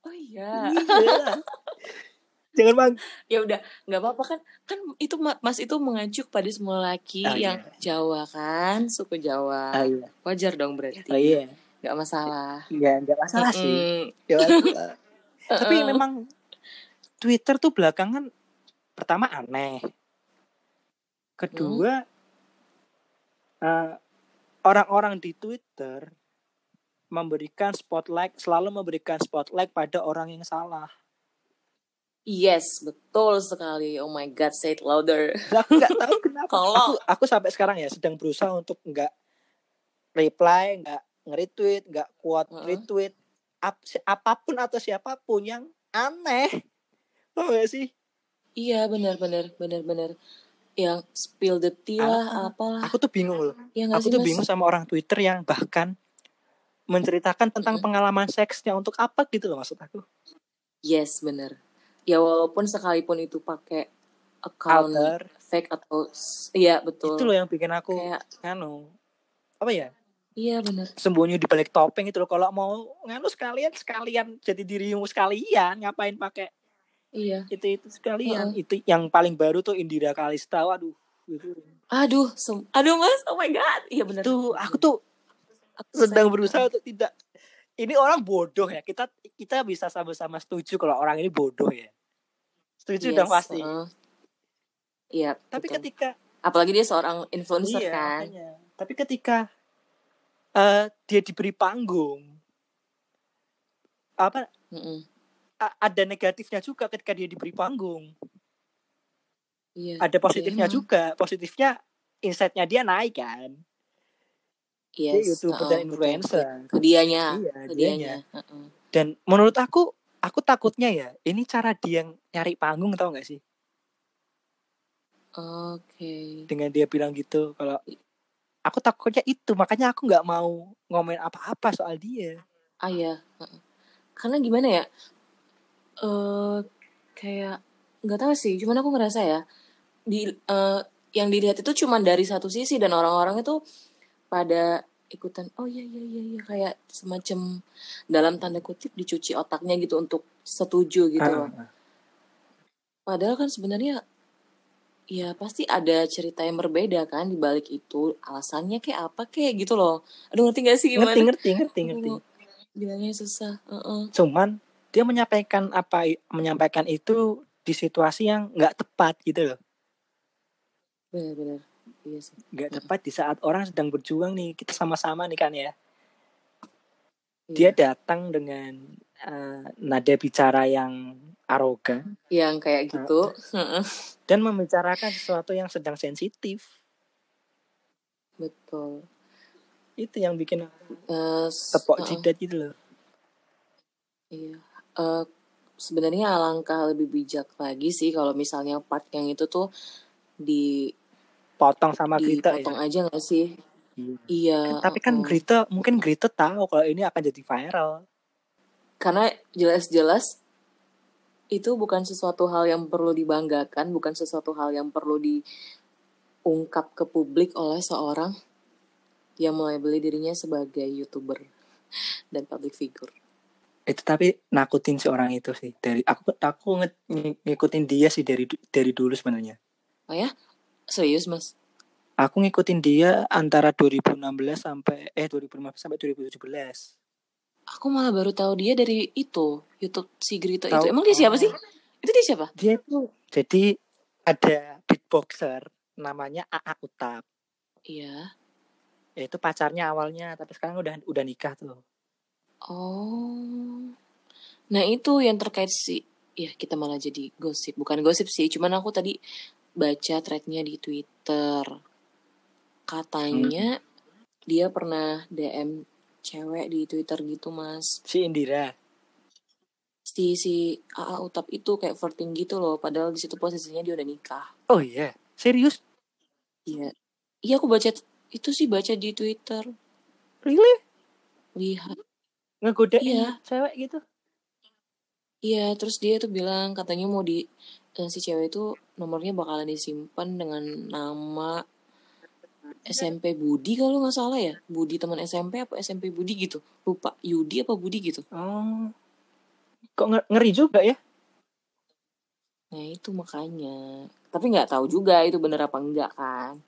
[SPEAKER 1] oh iya
[SPEAKER 2] Iya. Jangan mang.
[SPEAKER 1] ya udah nggak apa-apa kan kan itu ma- mas itu mengacu pada semua laki
[SPEAKER 2] Oh
[SPEAKER 1] yang
[SPEAKER 2] iya.
[SPEAKER 1] Jawa kan suku Jawa
[SPEAKER 2] Oh iya.
[SPEAKER 1] wajar dong
[SPEAKER 2] Oh
[SPEAKER 1] berarti
[SPEAKER 2] iya.
[SPEAKER 1] nggak masalah
[SPEAKER 2] Enggak, enggak masalah sih.
[SPEAKER 1] Mm-mm.
[SPEAKER 2] Enggak masalah. Ya, gitu Tapi memang Twitter tuh belakangan pertama aneh,
[SPEAKER 1] Hmm?
[SPEAKER 2] kedua eh, orang-orang di Twitter memberikan spotlight selalu memberikan spotlight pada orang yang salah.
[SPEAKER 1] Yes, betul sekali. Oh my God, say it louder.
[SPEAKER 2] Dan aku nggak tahu kenapa. Aku
[SPEAKER 1] Kalau
[SPEAKER 2] aku sampai sekarang ya sedang berusaha untuk nggak reply, nggak nge-retweet, nggak kuat
[SPEAKER 1] Heeh.
[SPEAKER 2] retweet ap- si- apapun atau siapapun yang aneh. Tau gak sih?
[SPEAKER 1] iya benar-benar benar-benar yang spill the tea lah,
[SPEAKER 2] Ah,
[SPEAKER 1] apalah.
[SPEAKER 2] aku tuh bingung loh.
[SPEAKER 1] Ya nggak
[SPEAKER 2] Aku
[SPEAKER 1] sih
[SPEAKER 2] tuh
[SPEAKER 1] mas?
[SPEAKER 2] bingung sama orang Twitter yang bahkan menceritakan tentang
[SPEAKER 1] Mm-mm.
[SPEAKER 2] pengalaman seksnya untuk apa gitu loh maksud aku.
[SPEAKER 1] Yes, benar. Ya walaupun sekalipun itu pakai account
[SPEAKER 2] Alter
[SPEAKER 1] fake atau iya
[SPEAKER 2] itu loh
[SPEAKER 1] betul.
[SPEAKER 2] yang bikin aku
[SPEAKER 1] Kayak
[SPEAKER 2] nganu apa ya
[SPEAKER 1] iya benar.
[SPEAKER 2] sembunyi di balik topeng itu loh kalau mau nganu sekalian sekalian jadi dirimu sekalian ngapain pakai
[SPEAKER 1] Iya.
[SPEAKER 2] itu itu sekalian
[SPEAKER 1] Heeh.
[SPEAKER 2] itu yang paling baru tuh Indira Kalista waduh itu
[SPEAKER 1] Aduh, sem- aduh mas, oh my God. Iya benar,
[SPEAKER 2] itu
[SPEAKER 1] benar,
[SPEAKER 2] aku
[SPEAKER 1] benar.
[SPEAKER 2] tuh
[SPEAKER 1] Aku selesai.
[SPEAKER 2] sedang berusaha untuk tidak ini orang bodoh ya kita kita bisa sama-sama setuju kalau orang ini bodoh ya setuju dong
[SPEAKER 1] Yes,
[SPEAKER 2] pasti
[SPEAKER 1] heeh. Iya
[SPEAKER 2] tapi
[SPEAKER 1] betul.
[SPEAKER 2] ketika
[SPEAKER 1] Apalagi dia seorang influencer
[SPEAKER 2] iya
[SPEAKER 1] kan.
[SPEAKER 2] makanya tapi ketika eh, dia diberi panggung apa
[SPEAKER 1] Mm-mm.
[SPEAKER 2] a- ada negatifnya juga ketika dia diberi panggung
[SPEAKER 1] Iya.
[SPEAKER 2] Ada positifnya
[SPEAKER 1] emang.
[SPEAKER 2] juga. Positifnya insight-nya dia naik kan. Dia
[SPEAKER 1] Yes,
[SPEAKER 2] YouTuber
[SPEAKER 1] uh-uh, betul.
[SPEAKER 2] dan
[SPEAKER 1] Nah,
[SPEAKER 2] influencer.
[SPEAKER 1] Kedianya,
[SPEAKER 2] Iya,
[SPEAKER 1] kedianya. uh-uh.
[SPEAKER 2] Dan menurut aku, aku takutnya ya, ini cara dia ng- nyari panggung tau gak sih?
[SPEAKER 1] Oke.
[SPEAKER 2] Dengan dia bilang gitu, kalau aku takutnya itu, makanya aku nggak mau ngomongin apa-apa soal dia.
[SPEAKER 1] Ah ya. uh-uh. Karena gimana ya? eh kayak nggak tahu sih. Cuman aku ngerasa ya di eh, yang dilihat itu cuman dari satu sisi dan orang-orang itu pada ikutan oh iya iya iya iya kayak semacam dalam tanda kutip dicuci otaknya gitu untuk setuju gitu loh.
[SPEAKER 2] Ah, ah, ah.
[SPEAKER 1] Padahal kan sebenarnya ya pasti ada cerita yang berbeda kan di balik itu alasannya kayak apa kayak gitu loh. Aduh ngerti gak sih
[SPEAKER 2] Ngerti,
[SPEAKER 1] gimana?
[SPEAKER 2] ngerti, ngerti,
[SPEAKER 1] Aduh,
[SPEAKER 2] ngerti.
[SPEAKER 1] mau bilangnya susah. Heeh.
[SPEAKER 2] Cuman dia menyampaikan apa menyampaikan itu di situasi yang nggak tepat gitu loh.
[SPEAKER 1] Benar-benar. Iya sih.
[SPEAKER 2] Nggak tepat di saat orang sedang berjuang nih, kita sama-sama nih kan ya.
[SPEAKER 1] Iya.
[SPEAKER 2] Dia datang dengan eh, nada bicara yang arogan
[SPEAKER 1] Yang kayak
[SPEAKER 2] eh,
[SPEAKER 1] gitu. Heeh.
[SPEAKER 2] dan membicarakan sesuatu yang sedang sensitif.
[SPEAKER 1] Betul.
[SPEAKER 2] Itu yang bikin aku
[SPEAKER 1] Eh, s-
[SPEAKER 2] tepok
[SPEAKER 1] heeh,
[SPEAKER 2] jidat gitu loh.
[SPEAKER 1] iya. Eh, sebenarnya alangkah lebih bijak lagi sih kalau misalnya part yang itu tuh di
[SPEAKER 2] Potong sama
[SPEAKER 1] Iya,
[SPEAKER 2] Grita
[SPEAKER 1] dipotong
[SPEAKER 2] ya.
[SPEAKER 1] aja nggak sih?
[SPEAKER 2] Iya.
[SPEAKER 1] Iya.
[SPEAKER 2] Kan- tapi kan
[SPEAKER 1] heeh.
[SPEAKER 2] Grita, mungkin Grita tahu kalau ini akan jadi viral.
[SPEAKER 1] Karena jelas-jelas itu bukan sesuatu hal yang perlu dibanggakan, bukan sesuatu hal yang perlu diungkap ke publik oleh seorang yang melabeli dirinya sebagai youtuber dan public figure.
[SPEAKER 2] Itu tapi nakutin si orang itu sih. Dari aku aku nge- ng- ngikutin dia sih dari du- dari dulu sebenarnya.
[SPEAKER 1] Oh ya? Serius, Mas?
[SPEAKER 2] Aku ngikutin dia antara 2016 sampai eh 2015 sampai 2017.
[SPEAKER 1] Aku malah baru tahu dia dari itu, YouTube si Grito itu.
[SPEAKER 2] Tahu
[SPEAKER 1] Emang dia siapa sih?
[SPEAKER 2] oh,
[SPEAKER 1] Itu dia siapa?
[SPEAKER 2] dia itu jadi ada beatboxer namanya AA Utap.
[SPEAKER 1] Iya.
[SPEAKER 2] Ya Itu pacarnya awalnya tapi sekarang udah udah nikah tuh.
[SPEAKER 1] Oh. Nah, itu yang terkait si ya kita malah jadi gosip. Bukan gosip sih, cuman aku tadi baca threadnya di Twitter.
[SPEAKER 2] Hmm.
[SPEAKER 1] Katanya dia pernah DM cewek di Twitter gitu, Mas.
[SPEAKER 2] Si Indira.
[SPEAKER 1] Si si AA Utap itu kayak flirting gitu loh, padahal di situ posisinya dia udah nikah.
[SPEAKER 2] Oh iya, serius?
[SPEAKER 1] Iya. Iya, aku baca itu sih baca di Twitter.
[SPEAKER 2] Really?
[SPEAKER 1] Lihat.
[SPEAKER 2] Ngegodain
[SPEAKER 1] Iya.
[SPEAKER 2] cewek gitu?
[SPEAKER 1] Iya, terus dia tuh bilang katanya mau di eh, si cewek itu nomornya bakalan disimpan dengan nama SMP Budi kalau nggak salah ya. Budi teman SMP apa SMP Budi gitu. Lupa Yudi apa Budi gitu.
[SPEAKER 2] Oh, kok nger- ngeri juga ya?
[SPEAKER 1] Nah, itu makanya. Tapi nggak tahu juga itu bener apa enggak kan.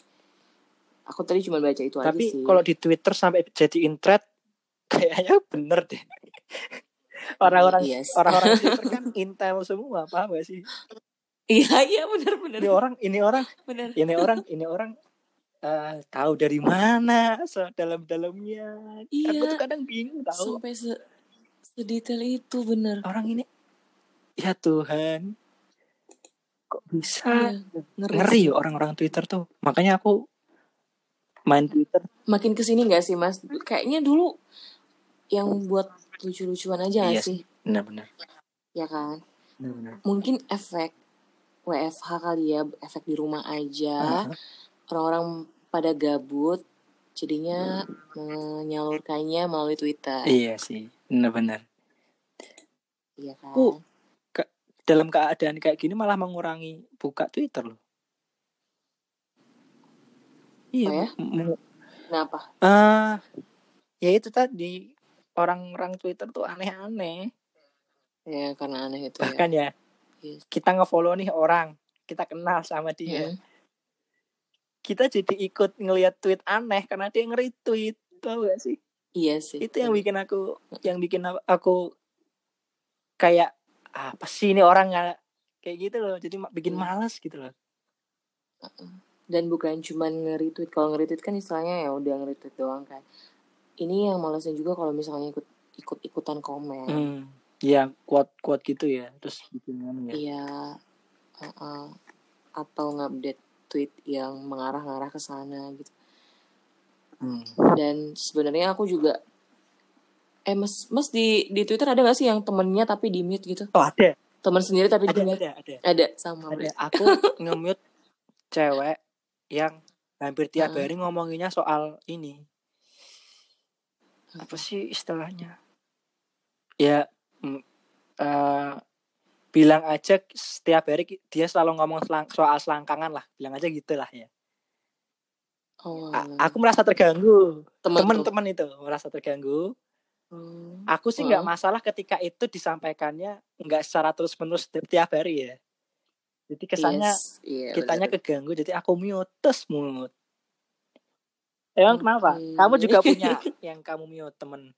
[SPEAKER 1] Aku tadi cuma baca itu aja
[SPEAKER 2] Tapi
[SPEAKER 1] iya sih.
[SPEAKER 2] kalau di Twitter sampai jadiin thread kayaknya bener deh.
[SPEAKER 1] Iya,
[SPEAKER 2] Orang-orang
[SPEAKER 1] iya. s-
[SPEAKER 2] orang-orang Twitter kan intel semua, paham gak sih?
[SPEAKER 1] Iya, iya bener bener
[SPEAKER 2] Ini orang, ini orang,
[SPEAKER 1] bener.
[SPEAKER 2] ini orang, ini orang eh, tahu dari mana dalam-dalamnya. Aku tuh
[SPEAKER 1] Iya,
[SPEAKER 2] kadang bingung tahu
[SPEAKER 1] sampai se sedetail itu bener.
[SPEAKER 2] orang ini ya Tuhan, kok bisa
[SPEAKER 1] Iya, ngeri
[SPEAKER 2] ngeri
[SPEAKER 1] sih.
[SPEAKER 2] ya orang-orang Twitter tuh. Makanya aku main Twitter.
[SPEAKER 1] Makin kesini nggak sih, Mas?
[SPEAKER 2] Hmm?
[SPEAKER 1] Kayaknya dulu yang buat lucu-lucuan aja gak
[SPEAKER 2] Iya
[SPEAKER 1] sih?
[SPEAKER 2] sih, benar-benar.
[SPEAKER 1] Ya kan?
[SPEAKER 2] Benar-benar.
[SPEAKER 1] Mungkin efek WFH kali ya, efek di rumah aja.
[SPEAKER 2] Ah, ah.
[SPEAKER 1] Orang-orang pada gabut, jadinya menyalurkannya melalui Twitter.
[SPEAKER 2] Hmm. Iya sih, benar-benar.
[SPEAKER 1] Iya
[SPEAKER 2] Aku
[SPEAKER 1] kan?
[SPEAKER 2] ke- dalam keadaan kayak gini malah mengurangi buka Twitter loh. Iya,
[SPEAKER 1] Oh
[SPEAKER 2] mu-
[SPEAKER 1] ya?
[SPEAKER 2] mu-
[SPEAKER 1] Kenapa?
[SPEAKER 2] ah ya itu tadi orang-orang Twitter tuh aneh-aneh.
[SPEAKER 1] Iya. Ya, karena aneh itu ya.
[SPEAKER 2] Bahkan ya
[SPEAKER 1] Yes.
[SPEAKER 2] kita ngefollow nih orang, kita kenal sama dia,
[SPEAKER 1] Mm-mm.
[SPEAKER 2] kita jadi ikut ngelihat tweet aneh karena dia nge-retweet. Tahu gak sih?
[SPEAKER 1] Iya sih,
[SPEAKER 2] Itu yang
[SPEAKER 1] bener.
[SPEAKER 2] bikin aku yang bikin a- aku kayak apa sih ini orang nggak kayak gitu loh. Jadi ma-
[SPEAKER 1] Iya.
[SPEAKER 2] bikin males gitu loh.
[SPEAKER 1] Dan bukan cuman nge-retweet. Kalau nge-retweet kan istilahnya ya udah nge-retweet doang kan. Ini yang malesnya juga kalau misalnya ikut ikut-ikutan komen.
[SPEAKER 2] Hmm. Iya. Ya, quote-quote gitu ya. Terus bikin anu ya.
[SPEAKER 1] Iya, heeh. atau ngupdate tweet yang mengarah-ngarah ke sana gitu
[SPEAKER 2] Hmm.
[SPEAKER 1] dan sebenarnya aku juga eh mas mas di di twitter ada gak sih yang temennya tapi di mute gitu
[SPEAKER 2] Oh ada,
[SPEAKER 1] teman sendiri tapi di
[SPEAKER 2] ada,
[SPEAKER 1] mute
[SPEAKER 2] ada, ada.
[SPEAKER 1] ada sama
[SPEAKER 2] Ada.
[SPEAKER 1] berarti
[SPEAKER 2] Aku nge-mute cewek yang hampir tiap
[SPEAKER 1] Heeh.
[SPEAKER 2] hari ngomonginnya soal ini. Apa sih istilahnya? Ya, mm, eh, bilang aja setiap hari ki- dia selalu ngomong selang- soal selangkangan lah. Bilang aja gitu lah ya.
[SPEAKER 1] oh
[SPEAKER 2] A- aku merasa terganggu.
[SPEAKER 1] teman tuh
[SPEAKER 2] Teman-teman itu merasa terganggu.
[SPEAKER 1] Hmm.
[SPEAKER 2] Aku sih nggak
[SPEAKER 1] Heeh.
[SPEAKER 2] masalah ketika itu disampaikannya nggak secara terus-menerus setiap tiap hari ya. Jadi kesannya
[SPEAKER 1] yes iya
[SPEAKER 2] kitanya
[SPEAKER 1] benar
[SPEAKER 2] keganggu jadi aku mute terus mute emang kenapa
[SPEAKER 1] oke
[SPEAKER 2] kamu juga punya yang kamu mute temen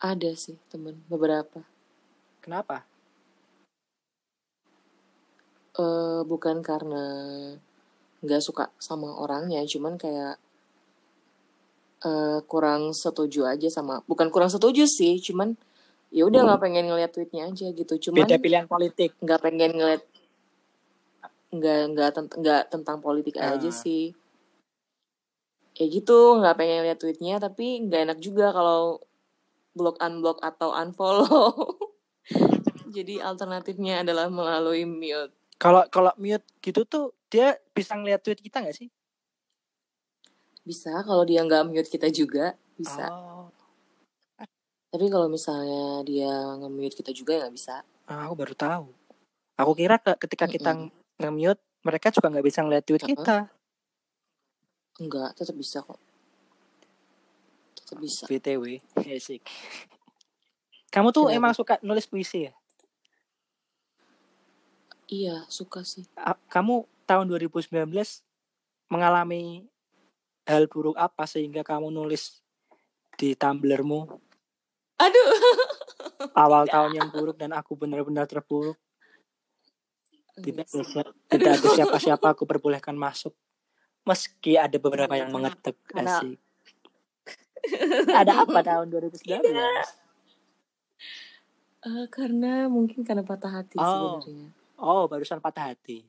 [SPEAKER 1] ada sih temen beberapa
[SPEAKER 2] kenapa
[SPEAKER 1] eh bukan karena nggak suka sama orangnya cuman kayak eh, kurang setuju aja sama bukan kurang setuju sih cuman ya udah nggak pengen ngeliat tweetnya aja gitu
[SPEAKER 2] beda
[SPEAKER 1] cuman
[SPEAKER 2] pilihan politik
[SPEAKER 1] nggak pengen ngeliat nggak nggak tent- nggak tentang politik aja
[SPEAKER 2] Ah,
[SPEAKER 1] sih ya gitu nggak pengen lihat tweetnya tapi nggak enak juga kalau block unblock atau unfollow jadi alternatifnya adalah melalui mute
[SPEAKER 2] kalau kalau mute gitu tuh dia bisa ngeliat tweet kita nggak sih
[SPEAKER 1] bisa kalau dia nggak mute kita juga bisa
[SPEAKER 2] oh
[SPEAKER 1] tapi kalau misalnya dia nge-mute kita juga ya nggak bisa
[SPEAKER 2] ah, aku baru tahu aku kira ke- ketika kita
[SPEAKER 1] Mm-mm.
[SPEAKER 2] ng- nge-mute mereka juga nggak bisa ngeliat tweet
[SPEAKER 1] Heeh.
[SPEAKER 2] kita
[SPEAKER 1] nggak tetap bisa kok tetap bisa
[SPEAKER 2] btw asik kamu tuh emang
[SPEAKER 1] kenapa
[SPEAKER 2] suka nulis puisi ya
[SPEAKER 1] iya suka sih
[SPEAKER 2] A- kamu tahun 2019 mengalami hal buruk apa sehingga kamu nulis di Tumblrmu
[SPEAKER 1] aduh
[SPEAKER 2] awal
[SPEAKER 1] Oh,
[SPEAKER 2] tahun
[SPEAKER 1] tidak
[SPEAKER 2] yang buruk dan aku benar-benar terpuruk. Tidak
[SPEAKER 1] enggak
[SPEAKER 2] ada
[SPEAKER 1] sih
[SPEAKER 2] si- tidak ada
[SPEAKER 1] aduh
[SPEAKER 2] siapa-siapa aku perbolehkan masuk. Meski ada beberapa yang mengetuk
[SPEAKER 1] karena
[SPEAKER 2] asik. Ada apa tahun
[SPEAKER 1] Iya.
[SPEAKER 2] 2019?
[SPEAKER 1] Eh, karena mungkin karena patah hati
[SPEAKER 2] Oh,
[SPEAKER 1] sebenarnya
[SPEAKER 2] oh barusan patah hati.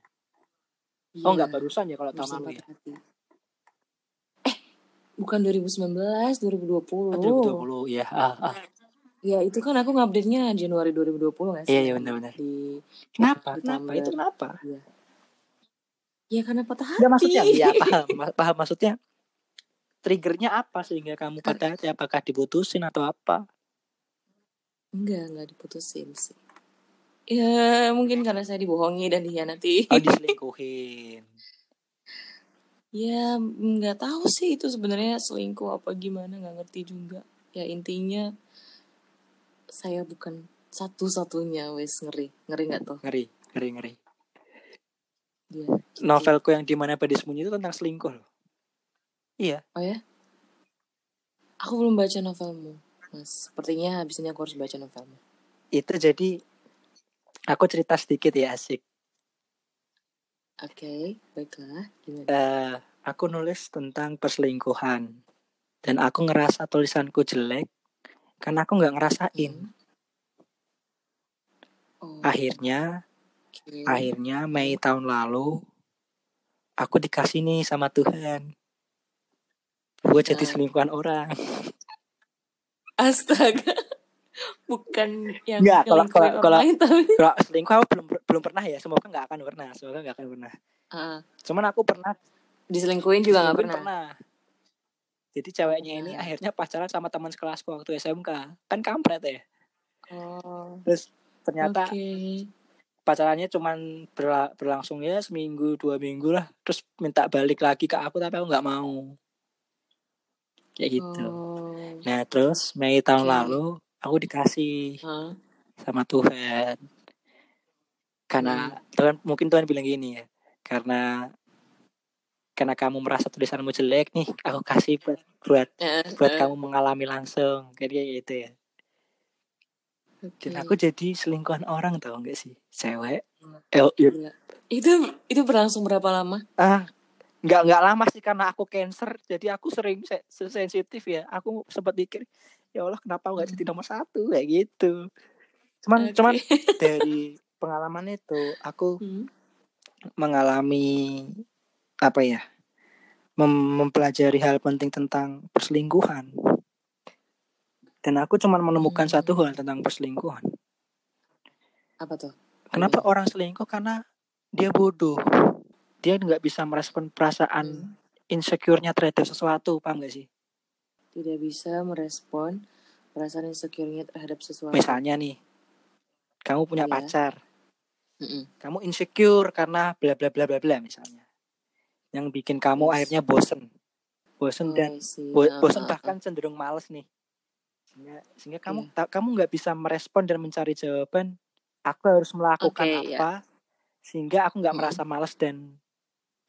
[SPEAKER 2] Oh
[SPEAKER 1] iya
[SPEAKER 2] nggak barusan ya kalau tahun
[SPEAKER 1] barusan
[SPEAKER 2] lalu ya.
[SPEAKER 1] patah hati Eh, bukan 2019
[SPEAKER 2] Oh
[SPEAKER 1] 2020
[SPEAKER 2] 2020 ya. Ah, ah.
[SPEAKER 1] ya itu kan aku ngupdate-nya Januari 2020 nggak
[SPEAKER 2] Iya
[SPEAKER 1] sih
[SPEAKER 2] iya
[SPEAKER 1] yang
[SPEAKER 2] benar-benar.
[SPEAKER 1] di
[SPEAKER 2] Kenapa?
[SPEAKER 1] di
[SPEAKER 2] Kenapa? Itu
[SPEAKER 1] Tumblr
[SPEAKER 2] kenapa?
[SPEAKER 1] ya ya karena patah
[SPEAKER 2] Enggak
[SPEAKER 1] hati
[SPEAKER 2] maksudnya, ya paham, ma- paham maksudnya. Triggernya apa sehingga kamu
[SPEAKER 1] Kar-
[SPEAKER 2] patah hati? Apakah diputusin atau apa?
[SPEAKER 1] enggak enggak diputusin sih ya mungkin karena saya dibohongi dan dikhianati
[SPEAKER 2] Oh diselingkuhin.
[SPEAKER 1] ya nggak tahu sih itu sebenarnya selingkuh apa gimana nggak ngerti juga ya intinya saya bukan satu-satunya wes ngeri ngeri nggak tuh
[SPEAKER 2] Ngeri, ngeri, ngeri.
[SPEAKER 1] ya gitu
[SPEAKER 2] novelku yang dimana Badai Sembunyi itu tentang selingkuh loh. Iya.
[SPEAKER 1] oh ya aku belum baca novelmu mas sepertinya habis ini aku harus baca novelmu
[SPEAKER 2] Itu jadi aku cerita sedikit ya asik.
[SPEAKER 1] oke baiklah gimana
[SPEAKER 2] Eh, aku nulis tentang perselingkuhan dan aku ngerasa tulisanku jelek karena aku nggak ngerasain.
[SPEAKER 1] Mm-mm. oh
[SPEAKER 2] Akhirnya,
[SPEAKER 1] oke
[SPEAKER 2] akhirnya Mei
[SPEAKER 1] Mm-mm.
[SPEAKER 2] tahun lalu aku dikasih nih sama Tuhan buat jadi
[SPEAKER 1] nah
[SPEAKER 2] selingkuhan orang.
[SPEAKER 1] astaga bukan yang
[SPEAKER 2] Nggak, kalau kalau
[SPEAKER 1] ngelingkuin orang
[SPEAKER 2] kalau
[SPEAKER 1] lain tapi
[SPEAKER 2] kalau selingkuh aku belum belum pernah ya. Semoga nggak akan pernah. Semoga nggak akan pernah.
[SPEAKER 1] Ah,
[SPEAKER 2] Cuman aku pernah
[SPEAKER 1] diselingkuin juga nggak
[SPEAKER 2] diselingkuhin
[SPEAKER 1] pernah
[SPEAKER 2] pernah. Jadi
[SPEAKER 1] oh
[SPEAKER 2] ceweknya ini
[SPEAKER 1] pernah
[SPEAKER 2] akhirnya pacaran sama teman sekelasku waktu SMK. Kan kampret ya.
[SPEAKER 1] oh
[SPEAKER 2] Terus ternyata
[SPEAKER 1] oke
[SPEAKER 2] pacarannya cuman berla- berlangsung ya seminggu dua minggu lah. Terus minta balik lagi ke aku tapi aku nggak mau. Kayak gitu.
[SPEAKER 1] oh
[SPEAKER 2] Nah terus Mei tahun
[SPEAKER 1] oke
[SPEAKER 2] lalu aku dikasih
[SPEAKER 1] Hah?
[SPEAKER 2] sama Tuhan.
[SPEAKER 1] Mm-mm.
[SPEAKER 2] Karena Tuhan mungkin Tuhan bilang gini ya. Karena karena kamu merasa tulisanmu jelek nih aku kasih buat buat,
[SPEAKER 1] Eh,
[SPEAKER 2] buat
[SPEAKER 1] eh,
[SPEAKER 2] kamu mengalami langsung. Kayak gitu ya.
[SPEAKER 1] oke
[SPEAKER 2] Dan aku jadi selingkuhan orang tau nggak sih? Cewek.
[SPEAKER 1] Hmm.
[SPEAKER 2] Eh, iya.
[SPEAKER 1] gila itu itu berlangsung berapa lama
[SPEAKER 2] ah nggak nggak lama sih karena aku cancer jadi aku sering se- se- sensitif ya aku sempat mikir ya Allah kenapa aku nggak
[SPEAKER 1] Mm.
[SPEAKER 2] jadi nomor satu kayak gitu cuman cuman
[SPEAKER 1] oke
[SPEAKER 2] dari pengalaman itu aku
[SPEAKER 1] Hmm.
[SPEAKER 2] mengalami apa ya mem- mempelajari hal penting tentang perselingkuhan dan aku cuma menemukan
[SPEAKER 1] Hmm.
[SPEAKER 2] satu hal tentang perselingkuhan
[SPEAKER 1] Apa tuh?
[SPEAKER 2] kenapa
[SPEAKER 1] Iya.
[SPEAKER 2] orang selingkuh karena dia bodoh dia nggak bisa merespon perasaan
[SPEAKER 1] Hmm.
[SPEAKER 2] insecure-nya terhadap sesuatu paham gak sih
[SPEAKER 1] Tidak bisa merespon perasaan insecure-nya terhadap sesuatu.
[SPEAKER 2] misalnya nih kamu punya
[SPEAKER 1] Iya.
[SPEAKER 2] pacar
[SPEAKER 1] Mm-mm.
[SPEAKER 2] kamu insecure karena bla bla bla bla bla misalnya yang bikin kamu
[SPEAKER 1] Yes.
[SPEAKER 2] akhirnya bosen bosen
[SPEAKER 1] Oh, I
[SPEAKER 2] dan
[SPEAKER 1] see.
[SPEAKER 2] bo-
[SPEAKER 1] Ah,
[SPEAKER 2] bosen
[SPEAKER 1] ah, ah.
[SPEAKER 2] bahkan cenderung males nih sehingga, sehingga kamu
[SPEAKER 1] Iya.
[SPEAKER 2] ta- kamu nggak bisa merespon dan mencari jawaban aku harus melakukan
[SPEAKER 1] Oke, ya.
[SPEAKER 2] apa sehingga aku nggak
[SPEAKER 1] Mm-mm. Nah,
[SPEAKER 2] merasa males dan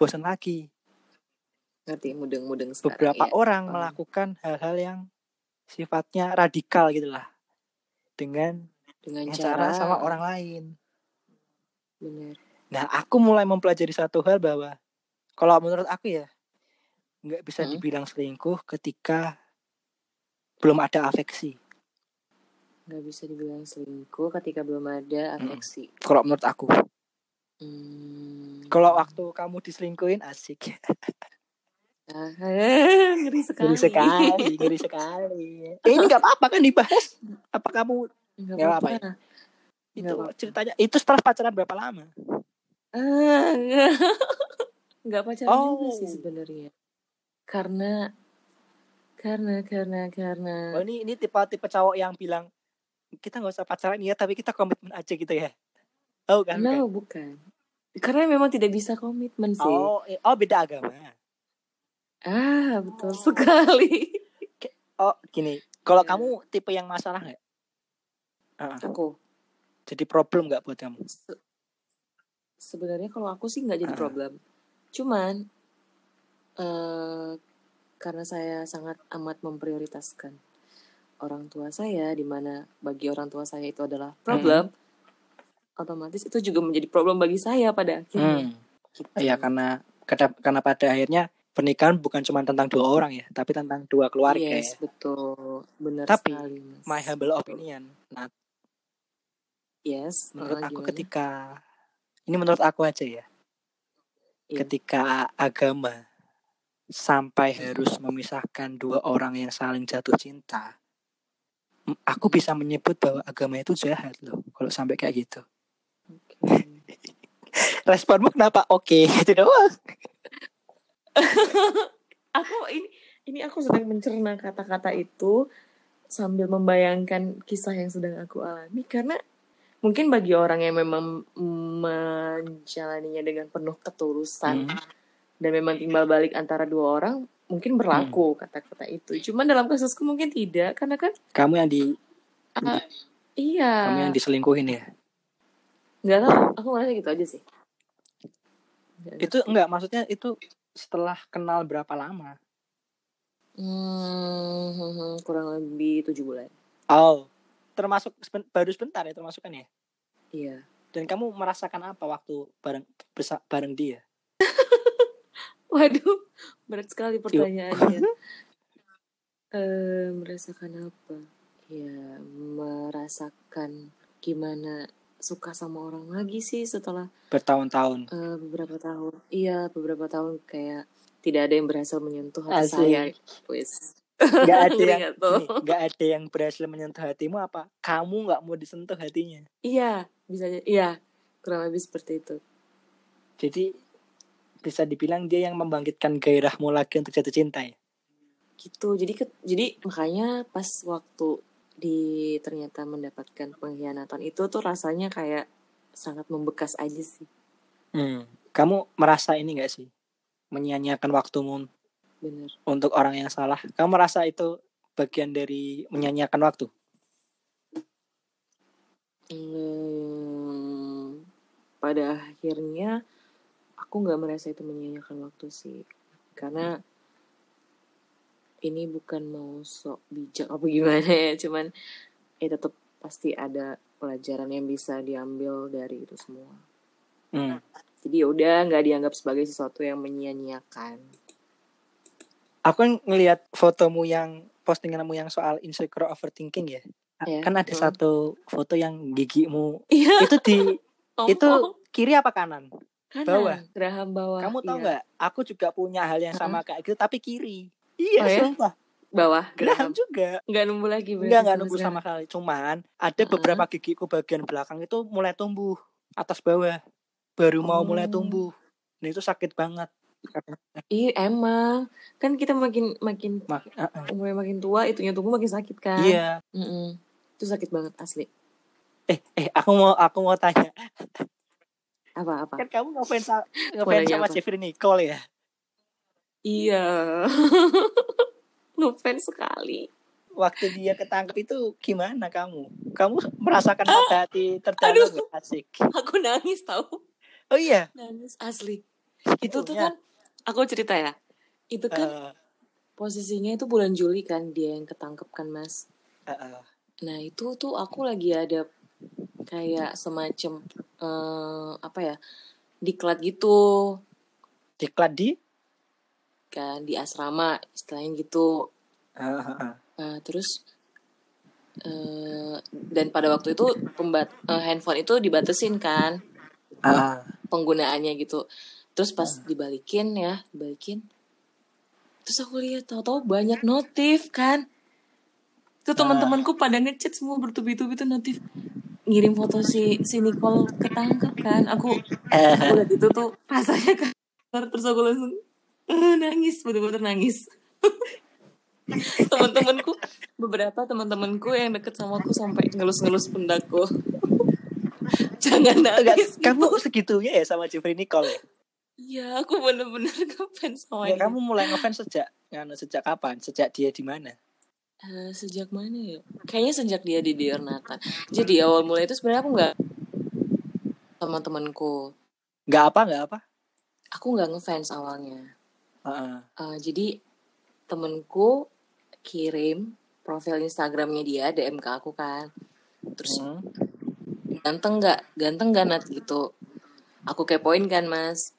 [SPEAKER 2] bosen lagi
[SPEAKER 1] Ngerti mudeng-mudeng sekarang
[SPEAKER 2] beberapa
[SPEAKER 1] ya.
[SPEAKER 2] orang
[SPEAKER 1] paham.
[SPEAKER 2] melakukan hal-hal yang sifatnya radikal gitulah dengan
[SPEAKER 1] Dengan cara,
[SPEAKER 2] cara sama
[SPEAKER 1] ah,
[SPEAKER 2] orang lain
[SPEAKER 1] benar.
[SPEAKER 2] Nah, aku mulai mempelajari satu hal bahwa kalau menurut aku ya, nggak bisa
[SPEAKER 1] Mm-mm.
[SPEAKER 2] dibilang selingkuh ketika belum ada afeksi.
[SPEAKER 1] Nggak bisa dibilang selingkuh ketika belum ada afeksi.
[SPEAKER 2] Kalau menurut aku,
[SPEAKER 1] Hmm.
[SPEAKER 2] kalau waktu kamu diselingkuhin asik.
[SPEAKER 1] Ah, ngeri
[SPEAKER 2] Ngeri
[SPEAKER 1] sekali.
[SPEAKER 2] sekali, ngeri sekali. Eh, ini nggak apa-apa kan dibahas? Apa kamu
[SPEAKER 1] Nggak
[SPEAKER 2] Nggak apa-apa
[SPEAKER 1] apa-apa.
[SPEAKER 2] ya? itu
[SPEAKER 1] Nggak apa-apa. Nah.
[SPEAKER 2] ceritanya itu setelah pacaran berapa lama?
[SPEAKER 1] Ah, nggak. Nggak pacaran juga sih
[SPEAKER 2] Oh.
[SPEAKER 1] sebenarnya. Karena, karena, karena, karena.
[SPEAKER 2] Oh, ini ini tipe-tipe cowok yang bilang kita nggak usah pacaran ya, tapi kita komitmen aja gitu ya. Oh kan? bukan?
[SPEAKER 1] No, bukan. Karena memang tidak bisa komitmen sih.
[SPEAKER 2] Oh, eh, oh beda agama.
[SPEAKER 1] Ah, betul sekali.
[SPEAKER 2] Oh, gini. Kalau
[SPEAKER 1] Iya.
[SPEAKER 2] kamu tipe yang masalah nggak? Heeh.
[SPEAKER 1] Aku
[SPEAKER 2] Jadi problem nggak buat kamu?
[SPEAKER 1] se- sebenarnya kalau aku sih nggak jadi
[SPEAKER 2] Ah.
[SPEAKER 1] problem. Cuman eh karena saya sangat amat memprioritaskan orang tua saya, di mana bagi orang tua saya itu adalah problem, otomatis itu juga menjadi problem bagi saya pada akhirnya.
[SPEAKER 2] Hmm.
[SPEAKER 1] Gitu.
[SPEAKER 2] Ya karena karena karena pada akhirnya pernikahan bukan cuma tentang dua orang ya, tapi tentang dua keluarga
[SPEAKER 1] Yes,
[SPEAKER 2] ya.
[SPEAKER 1] betul, benar
[SPEAKER 2] Tapi,
[SPEAKER 1] sekali, mas.
[SPEAKER 2] My humble opinion. Nah,
[SPEAKER 1] Yes,
[SPEAKER 2] menurut
[SPEAKER 1] eh,
[SPEAKER 2] aku
[SPEAKER 1] gimana?
[SPEAKER 2] ketika ini menurut aku aja ya,
[SPEAKER 1] Iya.
[SPEAKER 2] ketika agama sampai
[SPEAKER 1] Hmm.
[SPEAKER 2] harus memisahkan dua orang yang saling jatuh cinta, m- aku bisa menyebut bahwa agama itu jahat loh kalau sampai kayak gitu.
[SPEAKER 1] Oke.
[SPEAKER 2] Responmu kenapa? Oke, gitu doang.
[SPEAKER 1] aku ini ini aku sedang mencerna kata-kata itu sambil membayangkan kisah yang sedang aku alami karena mungkin bagi orang yang memang menjalaninya dengan penuh ketulusan
[SPEAKER 2] Hmm.
[SPEAKER 1] dan memang timbal balik antara dua orang mungkin berlaku
[SPEAKER 2] Hmm.
[SPEAKER 1] kata-kata itu cuman dalam kasusku mungkin tidak karena kan
[SPEAKER 2] Kamu yang di
[SPEAKER 1] ah, iya
[SPEAKER 2] kamu yang diselingkuhin ya.
[SPEAKER 1] nggak tahu aku ngerasa gitu aja sih Nggak
[SPEAKER 2] Itu
[SPEAKER 1] ngerti.
[SPEAKER 2] enggak maksudnya itu setelah kenal berapa lama?
[SPEAKER 1] Hmm, hmm, hmm, kurang lebih tujuh bulan
[SPEAKER 2] Oh, termasuk seben- baru sebentar ya termasukkan ya.
[SPEAKER 1] iya
[SPEAKER 2] Dan kamu merasakan apa waktu bareng bersa- bareng dia?
[SPEAKER 1] waduh berat sekali
[SPEAKER 2] Yuk.
[SPEAKER 1] pertanyaannya Eh, merasakan apa? Ya, merasakan gimana suka sama orang lagi sih setelah
[SPEAKER 2] Bertahun-tahun.
[SPEAKER 1] eh, beberapa tahun. Iya, beberapa tahun kayak tidak ada yang berhasil menyentuh hati saya.
[SPEAKER 2] Asik.
[SPEAKER 1] Wis.
[SPEAKER 2] Nggak ada ya?
[SPEAKER 1] Ngeri
[SPEAKER 2] yang
[SPEAKER 1] nggak
[SPEAKER 2] gini,
[SPEAKER 1] tuh?
[SPEAKER 2] nggak ada yang berhasil menyentuh hatimu apa? Kamu nggak mau disentuh hatinya.
[SPEAKER 1] Iya, bisa aja. Iya, kurang lebih seperti itu.
[SPEAKER 2] Jadi bisa dibilang dia yang membangkitkan gairahmu lagi untuk jatuh cinta ya.
[SPEAKER 1] Gitu. Jadi ke- jadi makanya pas waktu di ternyata mendapatkan pengkhianatan itu tuh rasanya kayak sangat membekas aja sih.
[SPEAKER 2] Hmm. Kamu merasa ini nggak sih? Menyia-nyiakan waktumu
[SPEAKER 1] Bener.
[SPEAKER 2] untuk orang yang salah. Kamu merasa itu bagian dari menyanyiakan waktu?
[SPEAKER 1] Hmm, pada akhirnya aku nggak merasa itu menyia-nyiakan waktu sih karena ini bukan mau sok bijak apa gimana ya cuman ya tetap pasti ada pelajaran yang bisa diambil dari itu semua
[SPEAKER 2] Hmm.
[SPEAKER 1] jadi ya udah nggak dianggap sebagai sesuatu yang menyia-nyiakan
[SPEAKER 2] Aku kan ngelihat fotomu yang postinganmu yang soal insecure overthinking ya. A-
[SPEAKER 1] ya
[SPEAKER 2] Kan ada
[SPEAKER 1] heeh.
[SPEAKER 2] satu foto yang gigimu
[SPEAKER 1] iya
[SPEAKER 2] itu di itu
[SPEAKER 1] ompong
[SPEAKER 2] kiri apa kanan?
[SPEAKER 1] Kanan,
[SPEAKER 2] Bawah.
[SPEAKER 1] geraham bawah.
[SPEAKER 2] Kamu tahu
[SPEAKER 1] iya.
[SPEAKER 2] nggak? Aku juga punya hal yang sama kayak gitu tapi kiri. Iya,
[SPEAKER 1] Oh ya? Iya,
[SPEAKER 2] sumpah.
[SPEAKER 1] Bawah, geraham.
[SPEAKER 2] Geraham juga.
[SPEAKER 1] Nggak nunggu lagi berarti
[SPEAKER 2] Enggak, enggak
[SPEAKER 1] sama
[SPEAKER 2] nunggu
[SPEAKER 1] sekali.
[SPEAKER 2] sama sekali. Cuman ada beberapa gigiku bagian belakang itu mulai tumbuh atas bawah. Baru mau mulai
[SPEAKER 1] Oh.
[SPEAKER 2] tumbuh. Nah, itu sakit banget.
[SPEAKER 1] Iya emang. Kan kita makin makin
[SPEAKER 2] Mak- uh-uh.
[SPEAKER 1] umurnya makin tua, itunya tumbuh makin sakit kan.
[SPEAKER 2] Iya.
[SPEAKER 1] Mm-mm. Itu sakit banget asli.
[SPEAKER 2] Eh, eh aku mau aku mau tanya.
[SPEAKER 1] Apa-apa?
[SPEAKER 2] Kan kamu ngefans sa-
[SPEAKER 1] Mau
[SPEAKER 2] ngefans
[SPEAKER 1] nanya
[SPEAKER 2] sama
[SPEAKER 1] apa?
[SPEAKER 2] Jeffrey Nicole ya?
[SPEAKER 1] Iya. Ngefans sekali.
[SPEAKER 2] Waktu dia ketangkep itu gimana kamu? Kamu merasakan patah hati
[SPEAKER 1] Ah!
[SPEAKER 2] terdalam
[SPEAKER 1] Aduh.
[SPEAKER 2] gak? Asik.
[SPEAKER 1] Aku nangis tau.
[SPEAKER 2] Oh iya.
[SPEAKER 1] Nangis asli. Itu tuh
[SPEAKER 2] Sebelumnya,
[SPEAKER 1] kan, aku cerita ya. Itu kan
[SPEAKER 2] Iya. eh,
[SPEAKER 1] posisinya itu bulan Juli kan dia yang ketangkep kan mas.
[SPEAKER 2] eh, eh,
[SPEAKER 1] Nah itu tuh aku lagi ada kayak semacam eh, apa ya diklat gitu
[SPEAKER 2] diklat di
[SPEAKER 1] kan di asrama istilahnya gitu.
[SPEAKER 2] Eh, eh, eh.
[SPEAKER 1] Nah, terus eh, dan pada waktu itu pembat eh, handphone itu dibatasin kan
[SPEAKER 2] Ah,
[SPEAKER 1] penggunaannya gitu. Terus pas dibalikin ya dibalikin. Terus aku lihat tahu-tahu banyak notif kan. Itu
[SPEAKER 2] ah.
[SPEAKER 1] teman-temanku pada ngechat semua bertubi-tubi tuh notif ngirim foto si si Nicole ketangkep kan. Aku aku
[SPEAKER 2] Eh,
[SPEAKER 1] lihat itu tuh rasanya kan terus aku langsung eh, nangis bener-bener nangis. Teman-temanku beberapa teman-temanku yang deket sama aku sampai ngelus-ngelus pendakku. Jangan
[SPEAKER 2] enggak,
[SPEAKER 1] nangis gitu.
[SPEAKER 2] kamu segitunya ya sama Jeffrey Nicole ya?
[SPEAKER 1] Iya, aku bener-bener ngefans sama
[SPEAKER 2] Enggak,
[SPEAKER 1] dia.
[SPEAKER 2] Ya, kamu mulai ngefans sejak nganu, sejak kapan? Sejak dia di mana?
[SPEAKER 1] Eh, sejak mana ya? Kayaknya sejak dia di Dear Nathan. Jadi awal mulai itu sebenarnya aku nggak sama temanku.
[SPEAKER 2] Enggak apa, enggak apa.
[SPEAKER 1] Aku nggak ngefans awalnya.
[SPEAKER 2] Heeh.
[SPEAKER 1] Eh, jadi temanku kirim profil Instagramnya dia DM ke aku kan. Terus
[SPEAKER 2] Hmm.
[SPEAKER 1] ganteng nggak? Ganteng gak Nat gitu. Aku kepoin kan mas.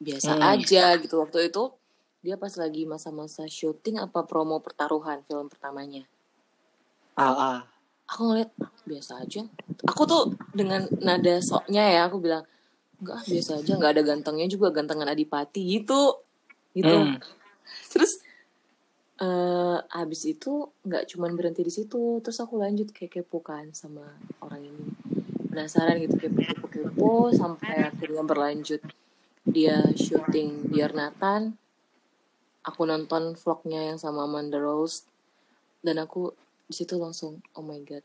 [SPEAKER 1] Biasa
[SPEAKER 2] Hmm.
[SPEAKER 1] aja gitu waktu itu. Dia pas lagi masa-masa syuting apa promo pertaruhan film pertamanya.
[SPEAKER 2] Ah, ah.
[SPEAKER 1] aku ngeliat "Ah, biasa aja aku tuh dengan nada soknya ya aku bilang enggak ah, biasa aja nggak ada gantengnya juga gantengan adipati gitu gitu
[SPEAKER 2] Hmm.
[SPEAKER 1] terus eh abis itu nggak cuman berhenti di situ terus aku lanjut kayak kepo kan sama orang ini penasaran gitu kepo kepo kepo sampai akhirnya berlanjut dia syuting Dear Nathan aku nonton vlognya yang sama Amanda Rose dan aku di situ langsung oh my god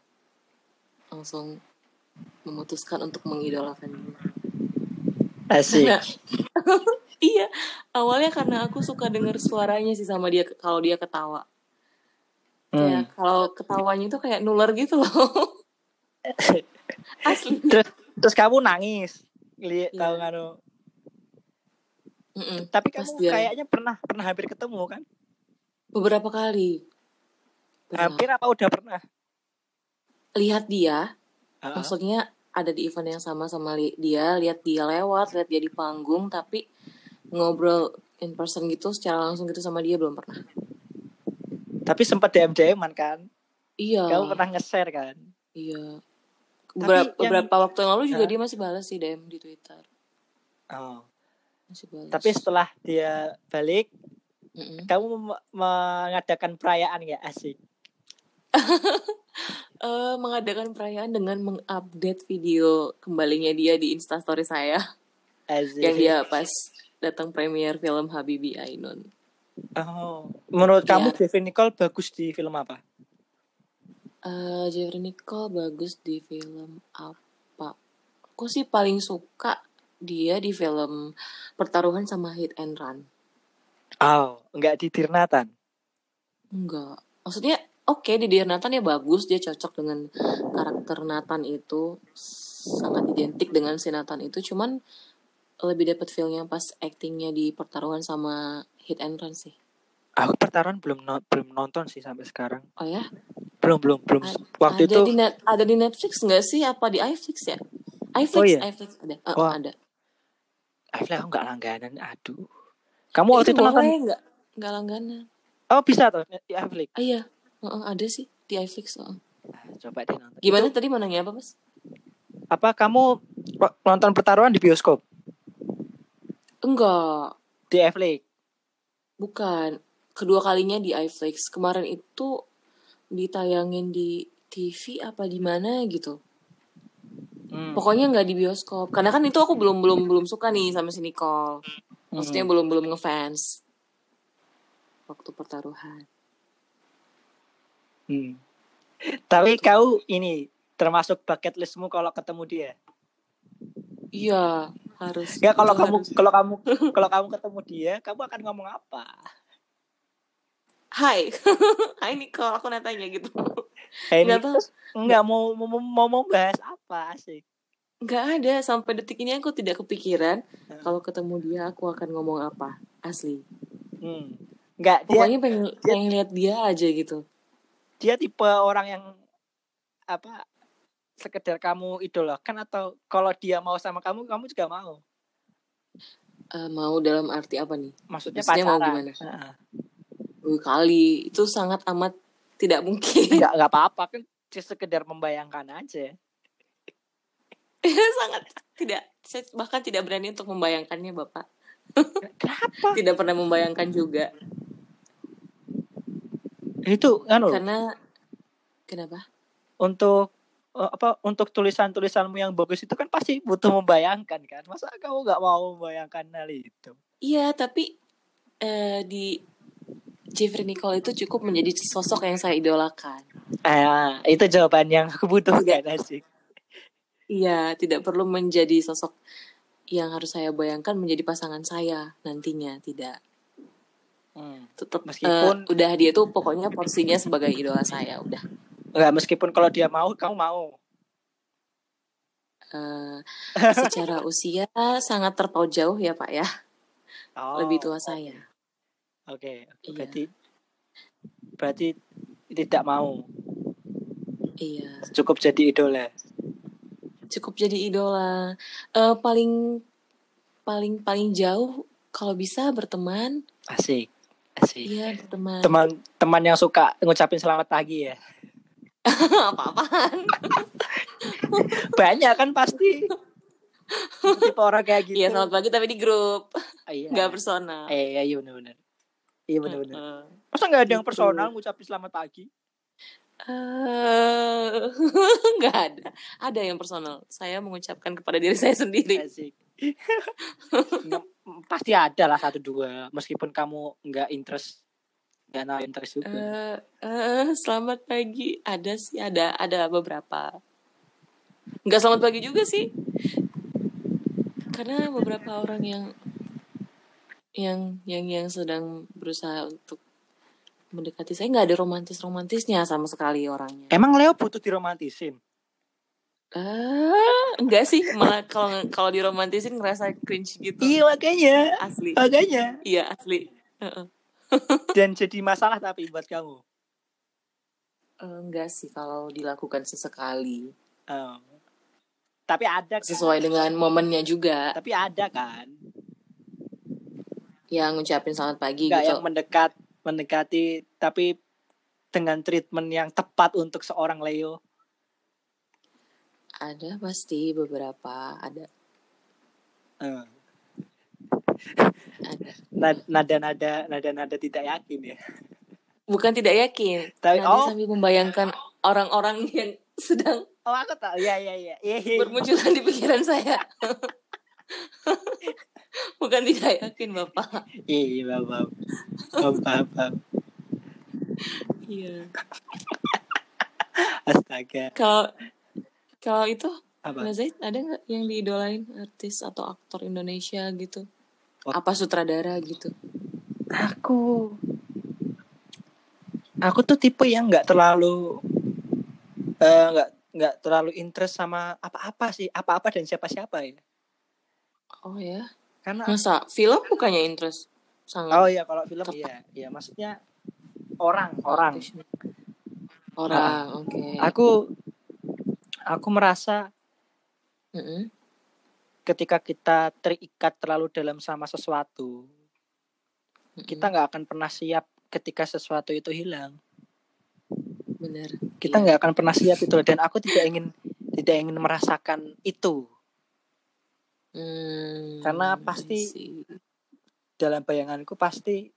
[SPEAKER 1] langsung memutuskan untuk mengidolakan dia.
[SPEAKER 2] Asik.
[SPEAKER 1] Karena Nah, iya, awalnya karena aku suka dengar suaranya sih sama dia kalau dia ketawa.
[SPEAKER 2] Hmm.
[SPEAKER 1] Kayak kalau ketawanya itu kayak nular gitu loh. Asli.
[SPEAKER 2] Terus terus kamu nangis. Lihat tahu
[SPEAKER 1] Iya.
[SPEAKER 2] nganu.
[SPEAKER 1] mm-mm.
[SPEAKER 2] Tapi
[SPEAKER 1] Pas
[SPEAKER 2] kamu
[SPEAKER 1] dia
[SPEAKER 2] kayaknya pernah pernah hampir ketemu kan?
[SPEAKER 1] beberapa kali pernah
[SPEAKER 2] Hampir apa udah pernah?
[SPEAKER 1] lihat dia,
[SPEAKER 2] Heeh.
[SPEAKER 1] maksudnya ada di event yang sama sama li- dia, lihat dia lewat, lihat dia di panggung, tapi ngobrol in person gitu secara langsung gitu sama dia belum pernah.
[SPEAKER 2] Tapi sempat DM-DM-an kan? Kamu
[SPEAKER 1] Iya,
[SPEAKER 2] pernah nge-share kan?
[SPEAKER 1] iya.
[SPEAKER 2] Tapi
[SPEAKER 1] Beberapa,
[SPEAKER 2] yang
[SPEAKER 1] beberapa waktu yang lalu juga
[SPEAKER 2] Hah?
[SPEAKER 1] dia masih balas sih DM di Twitter.
[SPEAKER 2] Oh.
[SPEAKER 1] masih
[SPEAKER 2] Tapi
[SPEAKER 1] balas
[SPEAKER 2] setelah dia balik,
[SPEAKER 1] Mm-mm.
[SPEAKER 2] kamu mem- mengadakan perayaan ya asik.
[SPEAKER 1] Eh, mengadakan perayaan dengan mengupdate video kembalinya dia di instastory saya yang
[SPEAKER 2] Asik.
[SPEAKER 1] dia pas datang premier film Habibi Ainun
[SPEAKER 2] Oh. Menurut kamu
[SPEAKER 1] ya
[SPEAKER 2] Jeffrey Nicole bagus di film apa?
[SPEAKER 1] eh Jeffrey Nicole bagus di film apa aku sih paling suka dia di film pertaruhan sama Hit and Run
[SPEAKER 2] Oh, enggak di Dirnatan.
[SPEAKER 1] enggak maksudnya oke di Dear Nathan ya bagus dia cocok dengan karakter Nathan itu sangat identik dengan si Nathan itu cuman lebih dapat feelnya pas actingnya di pertaruhan sama hit and run sih.
[SPEAKER 2] Aku pertaruhan belum no- belum nonton sih sampai sekarang.
[SPEAKER 1] Oh ya,
[SPEAKER 2] Belum belum belum.
[SPEAKER 1] A-
[SPEAKER 2] Waktu
[SPEAKER 1] ada
[SPEAKER 2] itu
[SPEAKER 1] di net, ada di Netflix nggak sih? Apa di iFlix ya?
[SPEAKER 2] oh
[SPEAKER 1] iFlix,
[SPEAKER 2] iya.
[SPEAKER 1] iFlix ada, Eh,
[SPEAKER 2] Wah,
[SPEAKER 1] ada.
[SPEAKER 2] Affleck aku enggak langganan. Aduh. Kamu
[SPEAKER 1] Itu
[SPEAKER 2] waktu itu nonton
[SPEAKER 1] boleh nggak? Nggak langganan.
[SPEAKER 2] Oh, bisa tuh di Affleck.
[SPEAKER 1] Ah iya, Heeh, ada sih di iFlix. heeh.
[SPEAKER 2] Ah, Coba deh nonton. Itu
[SPEAKER 1] Gimana tadi mau nanya apa mas?
[SPEAKER 2] apa kamu wa- nonton pertaruhan di bioskop?
[SPEAKER 1] Enggak,
[SPEAKER 2] Di Netflix.
[SPEAKER 1] bukan. Kedua kalinya di iFlix. Kemarin itu ditayangin di TV apa di mana gitu.
[SPEAKER 2] Hmm.
[SPEAKER 1] Pokoknya nggak di bioskop. Karena kan itu aku belum belum belum suka nih sama si Nicole.
[SPEAKER 2] Hmm.
[SPEAKER 1] Maksudnya belum belum ngefans. Waktu pertaruhan.
[SPEAKER 2] Hmm. Tapi kau ini termasuk bucket listmu kalau ketemu dia.
[SPEAKER 1] Iya, harus.
[SPEAKER 2] Enggak Ya, kalau
[SPEAKER 1] Itu
[SPEAKER 2] kamu
[SPEAKER 1] harus.
[SPEAKER 2] kalau kamu kalau kamu ketemu dia, kamu akan ngomong apa?
[SPEAKER 1] Hai. Hai Nicole, aku natanya gitu.
[SPEAKER 2] Kayak ini
[SPEAKER 1] Nggak tahu.
[SPEAKER 2] terus enggak mau mau mau, mau bahas apa sih?
[SPEAKER 1] Nggak ada. Sampai detik ini aku tidak kepikiran kalau ketemu dia aku akan ngomong apa. Asli.
[SPEAKER 2] Hmm. Enggak dia
[SPEAKER 1] Pokoknya pengen
[SPEAKER 2] dia-
[SPEAKER 1] pengen lihat dia aja gitu.
[SPEAKER 2] dia tipe orang yang apa sekedar kamu idolakan atau kalau dia mau sama kamu kamu juga mau
[SPEAKER 1] Eh, mau dalam arti apa nih?
[SPEAKER 2] maksudnya
[SPEAKER 1] Maksudnya mau
[SPEAKER 2] pacaran
[SPEAKER 1] gimana?
[SPEAKER 2] Heeh.
[SPEAKER 1] Dua kali itu sangat amat tidak mungkin.
[SPEAKER 2] nggak nggak apa-apa kan dia sekedar membayangkan aja
[SPEAKER 1] sangat tidak saya bahkan tidak berani untuk membayangkannya bapak
[SPEAKER 2] kenapa
[SPEAKER 1] tidak pernah membayangkan juga
[SPEAKER 2] itu anu
[SPEAKER 1] karena kenapa
[SPEAKER 2] untuk eh, apa untuk tulisan-tulisanmu yang bagus itu kan pasti butuh membayangkan kan masa kamu nggak mau membayangkan hal itu
[SPEAKER 1] iya tapi eh, di Jeffrey Nicole itu cukup menjadi sosok yang saya idolakan
[SPEAKER 2] ah itu jawaban yang aku butuhkan
[SPEAKER 1] Tidak.
[SPEAKER 2] asik
[SPEAKER 1] iya tidak perlu menjadi sosok yang harus saya bayangkan menjadi pasangan saya nantinya tidak
[SPEAKER 2] Hmm.
[SPEAKER 1] tetap eh,
[SPEAKER 2] meskipun
[SPEAKER 1] udah dia tuh pokoknya porsinya sebagai idola saya udah
[SPEAKER 2] nggak meskipun kalau dia mau kamu mau
[SPEAKER 1] Eh, secara usia sangat terpaut jauh ya pak ya lebih
[SPEAKER 2] oh
[SPEAKER 1] tua
[SPEAKER 2] oke
[SPEAKER 1] saya
[SPEAKER 2] oke oke.
[SPEAKER 1] Iya.
[SPEAKER 2] berarti berarti tidak mau
[SPEAKER 1] iya
[SPEAKER 2] cukup jadi ya? idola
[SPEAKER 1] cukup jadi idola Eh, paling paling paling jauh kalau bisa berteman
[SPEAKER 2] asik asik
[SPEAKER 1] iya berteman
[SPEAKER 2] teman teman yang suka ngucapin selamat pagi ya
[SPEAKER 1] apa-apaan
[SPEAKER 2] banyak kan pasti tipe orang kayak gitu
[SPEAKER 1] iya selamat pagi tapi di grup
[SPEAKER 2] Ah, iya
[SPEAKER 1] nggak personal
[SPEAKER 2] eh iya benar-benar iya benar-benar
[SPEAKER 1] Eh,
[SPEAKER 2] masa nggak ada yang
[SPEAKER 1] gitu.
[SPEAKER 2] personal ngucapin selamat pagi
[SPEAKER 1] Eh, nggak ada ada yang personal saya mengucapkan kepada diri saya sendiri
[SPEAKER 2] asik Nggak- pasti ada lah satu dua meskipun kamu nggak interest nggak nah interest juga
[SPEAKER 1] Eh, eh, selamat pagi ada sih ada ada beberapa nggak selamat pagi juga sih karena beberapa orang yang yang yang yang sedang berusaha untuk mendekati saya nggak ada romantis romantisnya sama sekali orangnya
[SPEAKER 2] emang Leo butuh diromantisin
[SPEAKER 1] eh enggak sih malah kalau kalau diromantisin ngerasa cringe gitu
[SPEAKER 2] iya makanya
[SPEAKER 1] asli
[SPEAKER 2] makanya
[SPEAKER 1] iya asli Heeh.
[SPEAKER 2] dan jadi masalah tapi buat kamu
[SPEAKER 1] Eh, enggak sih kalau dilakukan sesekali
[SPEAKER 2] Oh. tapi ada kan
[SPEAKER 1] sesuai dengan momennya juga
[SPEAKER 2] tapi ada kan
[SPEAKER 1] yang ngucapin selamat pagi
[SPEAKER 2] nggak yang
[SPEAKER 1] gitu
[SPEAKER 2] mendekat mendekati tapi dengan treatment yang tepat untuk seorang Leo
[SPEAKER 1] ada pasti beberapa ada
[SPEAKER 2] Eh,
[SPEAKER 1] ada
[SPEAKER 2] nad- nada-nada nada-nada tidak yakin ya
[SPEAKER 1] bukan tidak yakin
[SPEAKER 2] tapi
[SPEAKER 1] nada
[SPEAKER 2] oh
[SPEAKER 1] sambil membayangkan orang-orang yang sedang
[SPEAKER 2] oh aku tahu ya ya ya Yehe.
[SPEAKER 1] bermunculan di pikiran saya bukan tidak yakin bapak
[SPEAKER 2] iya bapak bapak bapak
[SPEAKER 1] iya
[SPEAKER 2] astaga
[SPEAKER 1] kalau Kalau itu
[SPEAKER 2] apa
[SPEAKER 1] Mas Zaid ada nggak yang diidolain artis atau aktor Indonesia gitu?
[SPEAKER 2] Wah.
[SPEAKER 1] Apa sutradara gitu?
[SPEAKER 2] aku aku tuh tipe yang nggak terlalu eh, nggak nggak terlalu interest sama apa-apa sih apa-apa dan siapa-siapa ya
[SPEAKER 1] Oh ya,
[SPEAKER 2] karena
[SPEAKER 1] masa film bukannya interest sangat
[SPEAKER 2] Oh iya kalau film
[SPEAKER 1] tepat
[SPEAKER 2] iya, iya maksudnya orang,
[SPEAKER 1] Oh,
[SPEAKER 2] Oh, orang.
[SPEAKER 1] passion
[SPEAKER 2] Ah, ah.
[SPEAKER 1] orang, oke.
[SPEAKER 2] Aku aku merasa
[SPEAKER 1] Mm-mm.
[SPEAKER 2] ketika kita terikat terlalu dalam sama sesuatu,
[SPEAKER 1] Mm-mm.
[SPEAKER 2] kita nggak akan pernah siap ketika sesuatu itu hilang.
[SPEAKER 1] Bener,
[SPEAKER 2] Kita
[SPEAKER 1] iya.
[SPEAKER 2] nggak akan pernah siap itu dan aku tidak ingin tidak ingin merasakan itu.
[SPEAKER 1] Hmm,
[SPEAKER 2] Karena
[SPEAKER 1] I
[SPEAKER 2] pasti
[SPEAKER 1] see.
[SPEAKER 2] dalam bayanganku pasti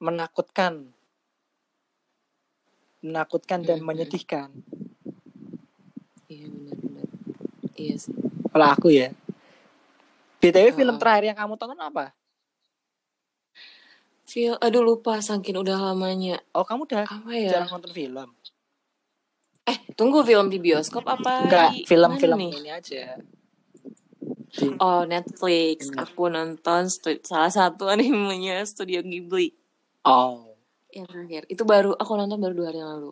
[SPEAKER 2] menakutkan, menakutkan dan
[SPEAKER 1] Mm-mm.
[SPEAKER 2] menyedihkan.
[SPEAKER 1] Iya benar-benar. Iya sih.
[SPEAKER 2] Kalau aku ya. BTW film
[SPEAKER 1] Heeh.
[SPEAKER 2] terakhir yang kamu tonton apa?
[SPEAKER 1] Feel, aduh lupa saking udah lamanya.
[SPEAKER 2] Oh, kamu udah
[SPEAKER 1] Apa ya?
[SPEAKER 2] jarang nonton film.
[SPEAKER 1] Eh, tunggu film di bioskop apa
[SPEAKER 2] Enggak,
[SPEAKER 1] di mana
[SPEAKER 2] film-film
[SPEAKER 1] nih?
[SPEAKER 2] ini aja. Di-
[SPEAKER 1] Oh, Netflix.
[SPEAKER 2] Bener.
[SPEAKER 1] Aku nonton stu- salah satu animenya Studio Ghibli.
[SPEAKER 2] Oh,
[SPEAKER 1] Yang terakhir. Itu baru, aku nonton baru dua hari yang lalu.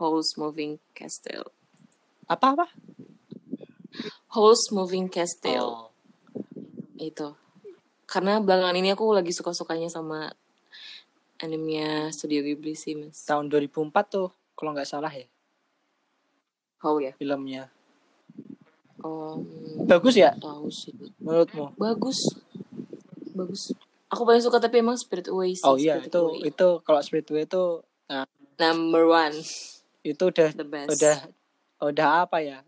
[SPEAKER 1] Howl's Moving Castle.
[SPEAKER 2] apa-apa?
[SPEAKER 1] Howl's Moving Castle.
[SPEAKER 2] Oh,
[SPEAKER 1] Itu. Karena belakangan ini aku lagi suka-sukanya sama animenya Studio Ghibli sih, Mas.
[SPEAKER 2] tahun 2004 tuh kalau nggak salah ya
[SPEAKER 1] Howl ya?
[SPEAKER 2] filmnya.
[SPEAKER 1] Oh,
[SPEAKER 2] Bagus ya
[SPEAKER 1] nggak tahu sih.
[SPEAKER 2] menurutmu?
[SPEAKER 1] Bagus. Bagus. Aku paling suka tapi emang Spirit Away
[SPEAKER 2] Oh
[SPEAKER 1] sih.
[SPEAKER 2] iya,
[SPEAKER 1] Spirit
[SPEAKER 2] itu
[SPEAKER 1] Away.
[SPEAKER 2] itu kalau Speedway itu nah,
[SPEAKER 1] Number one.
[SPEAKER 2] itu udah
[SPEAKER 1] The
[SPEAKER 2] udah
[SPEAKER 1] best.
[SPEAKER 2] udah apa ya?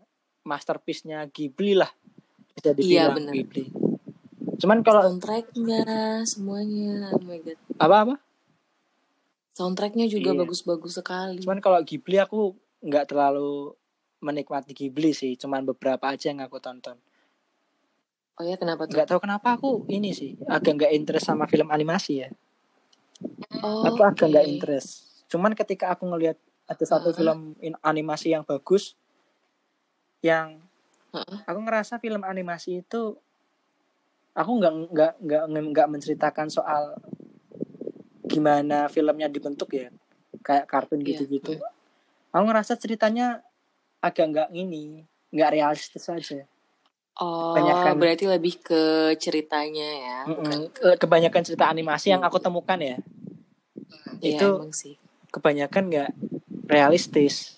[SPEAKER 2] Masterpiece-nya Ghibli lah
[SPEAKER 1] Iya,
[SPEAKER 2] bisa dibilang
[SPEAKER 1] bener.
[SPEAKER 2] Ghibli. Cuman kalau
[SPEAKER 1] soundtracknya semuanya oh my god
[SPEAKER 2] apa-apa?
[SPEAKER 1] soundtracknya juga
[SPEAKER 2] Iya.
[SPEAKER 1] bagus-bagus sekali
[SPEAKER 2] Cuman kalau Ghibli aku nggak terlalu menikmati Ghibli sih, cuman beberapa aja yang aku tonton.
[SPEAKER 1] oh ya kenapa tuh
[SPEAKER 2] Nggak tahu kenapa aku ini sih agak nggak interest sama film animasi ya. Aku
[SPEAKER 1] oke
[SPEAKER 2] agak nggak interest. Cuman ketika aku ngelihat ada satu
[SPEAKER 1] Heeh,
[SPEAKER 2] film in- animasi yang bagus, yang
[SPEAKER 1] heeh.
[SPEAKER 2] aku ngerasa film animasi itu aku nggak nggak nggak nggak menceritakan soal gimana filmnya dibentuk ya, kayak kartun
[SPEAKER 1] iya
[SPEAKER 2] gitu-gitu.
[SPEAKER 1] heeh.
[SPEAKER 2] Aku ngerasa ceritanya agak nggak ini, nggak realistis aja.
[SPEAKER 1] oh
[SPEAKER 2] Kebanyakan
[SPEAKER 1] berarti lebih ke ceritanya ya bukan
[SPEAKER 2] Mm-mm. Eh,
[SPEAKER 1] ke
[SPEAKER 2] kebanyakan cerita animasi yang aku
[SPEAKER 1] Iya
[SPEAKER 2] temukan ya
[SPEAKER 1] iya
[SPEAKER 2] itu
[SPEAKER 1] emang sih
[SPEAKER 2] kebanyakan nggak realistis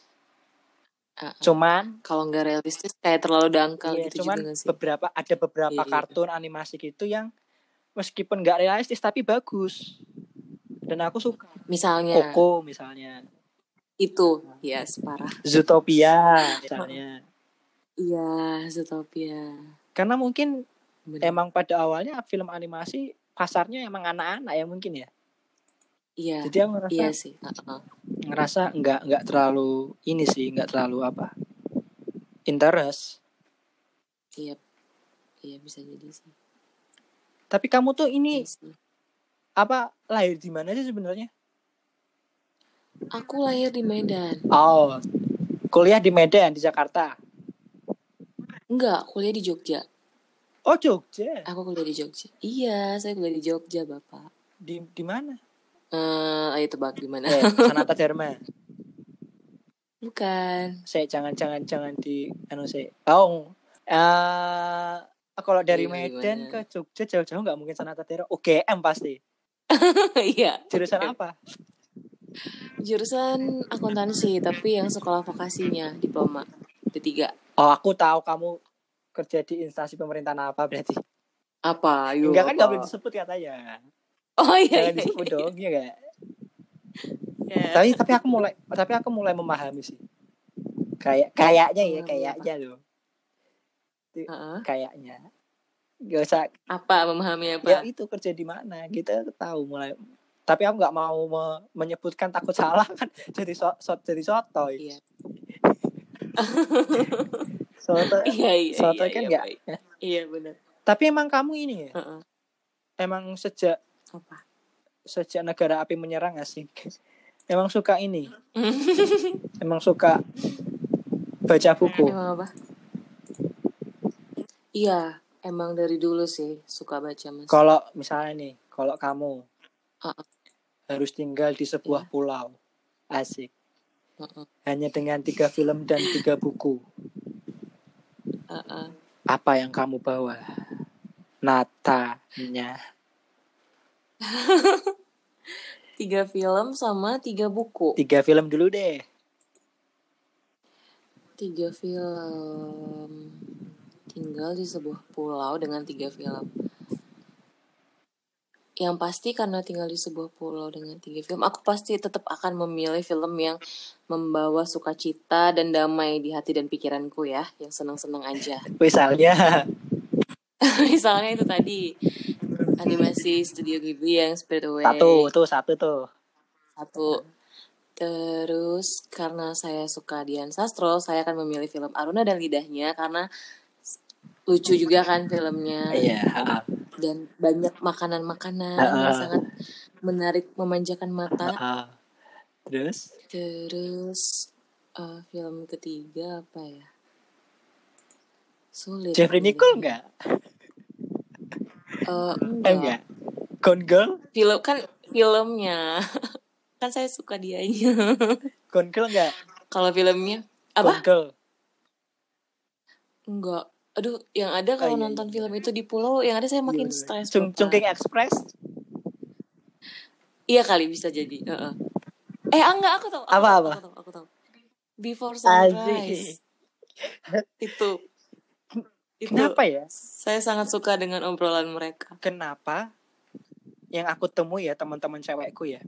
[SPEAKER 1] Heeh.
[SPEAKER 2] cuman
[SPEAKER 1] kalau nggak realistis kayak terlalu dangkal
[SPEAKER 2] iya
[SPEAKER 1] gitu juga
[SPEAKER 2] cuman
[SPEAKER 1] nggak sih
[SPEAKER 2] beberapa ada beberapa
[SPEAKER 1] iya
[SPEAKER 2] kartun animasi gitu yang meskipun nggak realistis tapi bagus dan aku suka
[SPEAKER 1] misalnya
[SPEAKER 2] Koko misalnya
[SPEAKER 1] itu yes parah
[SPEAKER 2] Zootopia misalnya
[SPEAKER 1] iya Zootopia
[SPEAKER 2] karena mungkin
[SPEAKER 1] bener
[SPEAKER 2] emang pada awalnya film animasi pasarnya emang anak-anak ya mungkin ya
[SPEAKER 1] iya
[SPEAKER 2] jadi aku ngerasa
[SPEAKER 1] iya sih Heeh.
[SPEAKER 2] ngerasa nggak nggak terlalu ini sih nggak terlalu apa interest
[SPEAKER 1] iya iya bisa jadi sih
[SPEAKER 2] tapi kamu tuh
[SPEAKER 1] iya
[SPEAKER 2] ini
[SPEAKER 1] sih
[SPEAKER 2] apa lahir di mana sih sebenarnya?
[SPEAKER 1] Aku lahir di Medan.
[SPEAKER 2] Oh, kuliah di Medan di Jakarta.
[SPEAKER 1] Enggak, kuliah di Jogja.
[SPEAKER 2] Oh, Jogja.
[SPEAKER 1] Aku kuliah di Jogja. Iya, saya kuliah di Jogja, Bapak.
[SPEAKER 2] Di di mana?
[SPEAKER 1] Eh, ayo tebak di mana?
[SPEAKER 2] Eh, Sanata Dharma.
[SPEAKER 1] Bukan.
[SPEAKER 2] Saya jangan jangan jangan di anu saya. Oh, eh kalau dari
[SPEAKER 1] Ayo di
[SPEAKER 2] Medan
[SPEAKER 1] mana?
[SPEAKER 2] ke Jogja jauh-jauh nggak mungkin Sanata Dharma. UGM pasti.
[SPEAKER 1] Iya.
[SPEAKER 2] Jurusan apa?
[SPEAKER 1] Jurusan akuntansi, tapi yang sekolah vokasinya, diploma. D3.
[SPEAKER 2] Oh, aku tahu kamu kerja di instansi pemerintahan apa berarti?
[SPEAKER 1] Eh, Apa? Yuk,
[SPEAKER 2] Enggak kan nggak boleh
[SPEAKER 1] apa?
[SPEAKER 2] disebut katanya.
[SPEAKER 1] Oh iya,
[SPEAKER 2] Jangan
[SPEAKER 1] iya,
[SPEAKER 2] disebut
[SPEAKER 1] iya.
[SPEAKER 2] dong, ya enggak?
[SPEAKER 1] iya.
[SPEAKER 2] Tapi tapi aku mulai tapi aku mulai memahami sih. Kayak kayaknya
[SPEAKER 1] Memahami
[SPEAKER 2] ya,
[SPEAKER 1] apa?
[SPEAKER 2] kayaknya loh. Itu
[SPEAKER 1] Heeh.
[SPEAKER 2] kayaknya gak usah
[SPEAKER 1] Apa? Memahami
[SPEAKER 2] ya
[SPEAKER 1] apa?
[SPEAKER 2] itu kerja di mana kita tahu mulai tapi aku nggak mau me- menyebutkan takut salah kan jadi so, so- jadi sotoy
[SPEAKER 1] Iya.
[SPEAKER 2] sotoy
[SPEAKER 1] Iya, iya, iya,
[SPEAKER 2] sotoy kan
[SPEAKER 1] iya,
[SPEAKER 2] nggak
[SPEAKER 1] baik. Iya, benar.
[SPEAKER 2] tapi emang kamu ini ya
[SPEAKER 1] Heeh.
[SPEAKER 2] emang sejak
[SPEAKER 1] Apa?
[SPEAKER 2] sejak negara api menyerang asik emang suka ini emang suka baca buku
[SPEAKER 1] Emang apa? Iya, emang dari dulu sih suka baca mas.
[SPEAKER 2] kalau misalnya nih kalau kamu
[SPEAKER 1] Heeh,
[SPEAKER 2] harus tinggal di sebuah
[SPEAKER 1] iya,
[SPEAKER 2] pulau asik
[SPEAKER 1] heeh,
[SPEAKER 2] hanya dengan tiga film dan tiga buku
[SPEAKER 1] heeh.
[SPEAKER 2] apa yang kamu bawa Natanya
[SPEAKER 1] Tiga film sama tiga buku.
[SPEAKER 2] tiga film dulu deh
[SPEAKER 1] Tiga film. Tinggal di sebuah pulau dengan tiga film. Yang pasti karena tinggal di sebuah pulau dengan tiga film, aku pasti tetap akan memilih film yang membawa sukacita dan damai di hati dan pikiranku ya, yang senang-senang aja.
[SPEAKER 2] misalnya
[SPEAKER 1] misalnya itu tadi animasi Studio Ghibli yang Spirit Away
[SPEAKER 2] Satu tuh satu tuh.
[SPEAKER 1] satu terus karena saya suka Dian Sastro saya akan memilih film Aruna dan Lidahnya karena s- lucu juga kan filmnya
[SPEAKER 2] Iya. heeh,
[SPEAKER 1] dan banyak makanan-makanan yang
[SPEAKER 2] heeh,
[SPEAKER 1] sangat menarik memanjakan mata
[SPEAKER 2] heeh. Terus?
[SPEAKER 1] terus eh, film ketiga apa ya sulit
[SPEAKER 2] Jeffrey Nicole
[SPEAKER 1] memilihnya
[SPEAKER 2] nggak?
[SPEAKER 1] Eh,
[SPEAKER 2] Eh,
[SPEAKER 1] enggak
[SPEAKER 2] nggak. Gone Girl?
[SPEAKER 1] film kan filmnya kan saya suka dianya
[SPEAKER 2] Gone Girl nggak?
[SPEAKER 1] kalau filmnya
[SPEAKER 2] Gone
[SPEAKER 1] apa
[SPEAKER 2] Girl.
[SPEAKER 1] enggak aduh yang ada
[SPEAKER 2] Oh
[SPEAKER 1] kalau
[SPEAKER 2] iya iya
[SPEAKER 1] nonton
[SPEAKER 2] iya.
[SPEAKER 1] film itu di pulau yang ada saya
[SPEAKER 2] Iya,
[SPEAKER 1] makin
[SPEAKER 2] iya.
[SPEAKER 1] stres
[SPEAKER 2] Cung Cungking
[SPEAKER 1] bapak
[SPEAKER 2] Express?
[SPEAKER 1] iya kali bisa jadi heeh. eh ah, enggak aku tahu aku
[SPEAKER 2] Apa
[SPEAKER 1] tahu
[SPEAKER 2] apa?
[SPEAKER 1] aku tahu aku tahu Before
[SPEAKER 2] Asik.
[SPEAKER 1] Sunrise itu itu
[SPEAKER 2] Kenapa ya?
[SPEAKER 1] saya sangat suka dengan obrolan mereka
[SPEAKER 2] Kenapa yang aku temui ya teman-teman cewekku ya?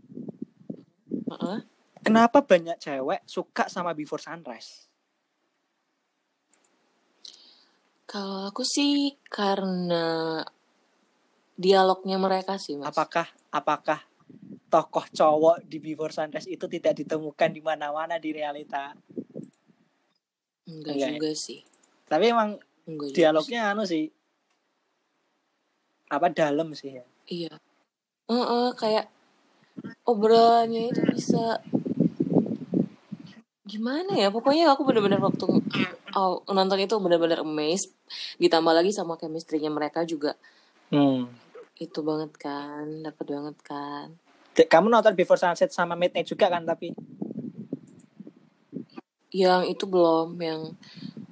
[SPEAKER 1] Heeh.
[SPEAKER 2] Kenapa banyak cewek suka sama Before Sunrise?
[SPEAKER 1] kalau aku sih karena dialognya mereka sih mas
[SPEAKER 2] Apakah apakah tokoh cowok di Before Sunrise itu tidak ditemukan di mana-mana di realita?
[SPEAKER 1] enggak
[SPEAKER 2] Enggak ya?
[SPEAKER 1] juga sih
[SPEAKER 2] Tapi emang
[SPEAKER 1] enggak juga sih
[SPEAKER 2] dialognya anu sih apa dalam sih ya?
[SPEAKER 1] iya Heeh, kayak obrolannya itu bisa gimana ya pokoknya aku bener-bener waktu aw- nonton itu bener-bener amazed ditambah lagi sama chemistry-nya mereka juga
[SPEAKER 2] Hmm.
[SPEAKER 1] itu banget kan dapat banget kan
[SPEAKER 2] Dek, Kamu nonton Before Sunset sama Midnight juga kan tapi
[SPEAKER 1] yang itu belum yang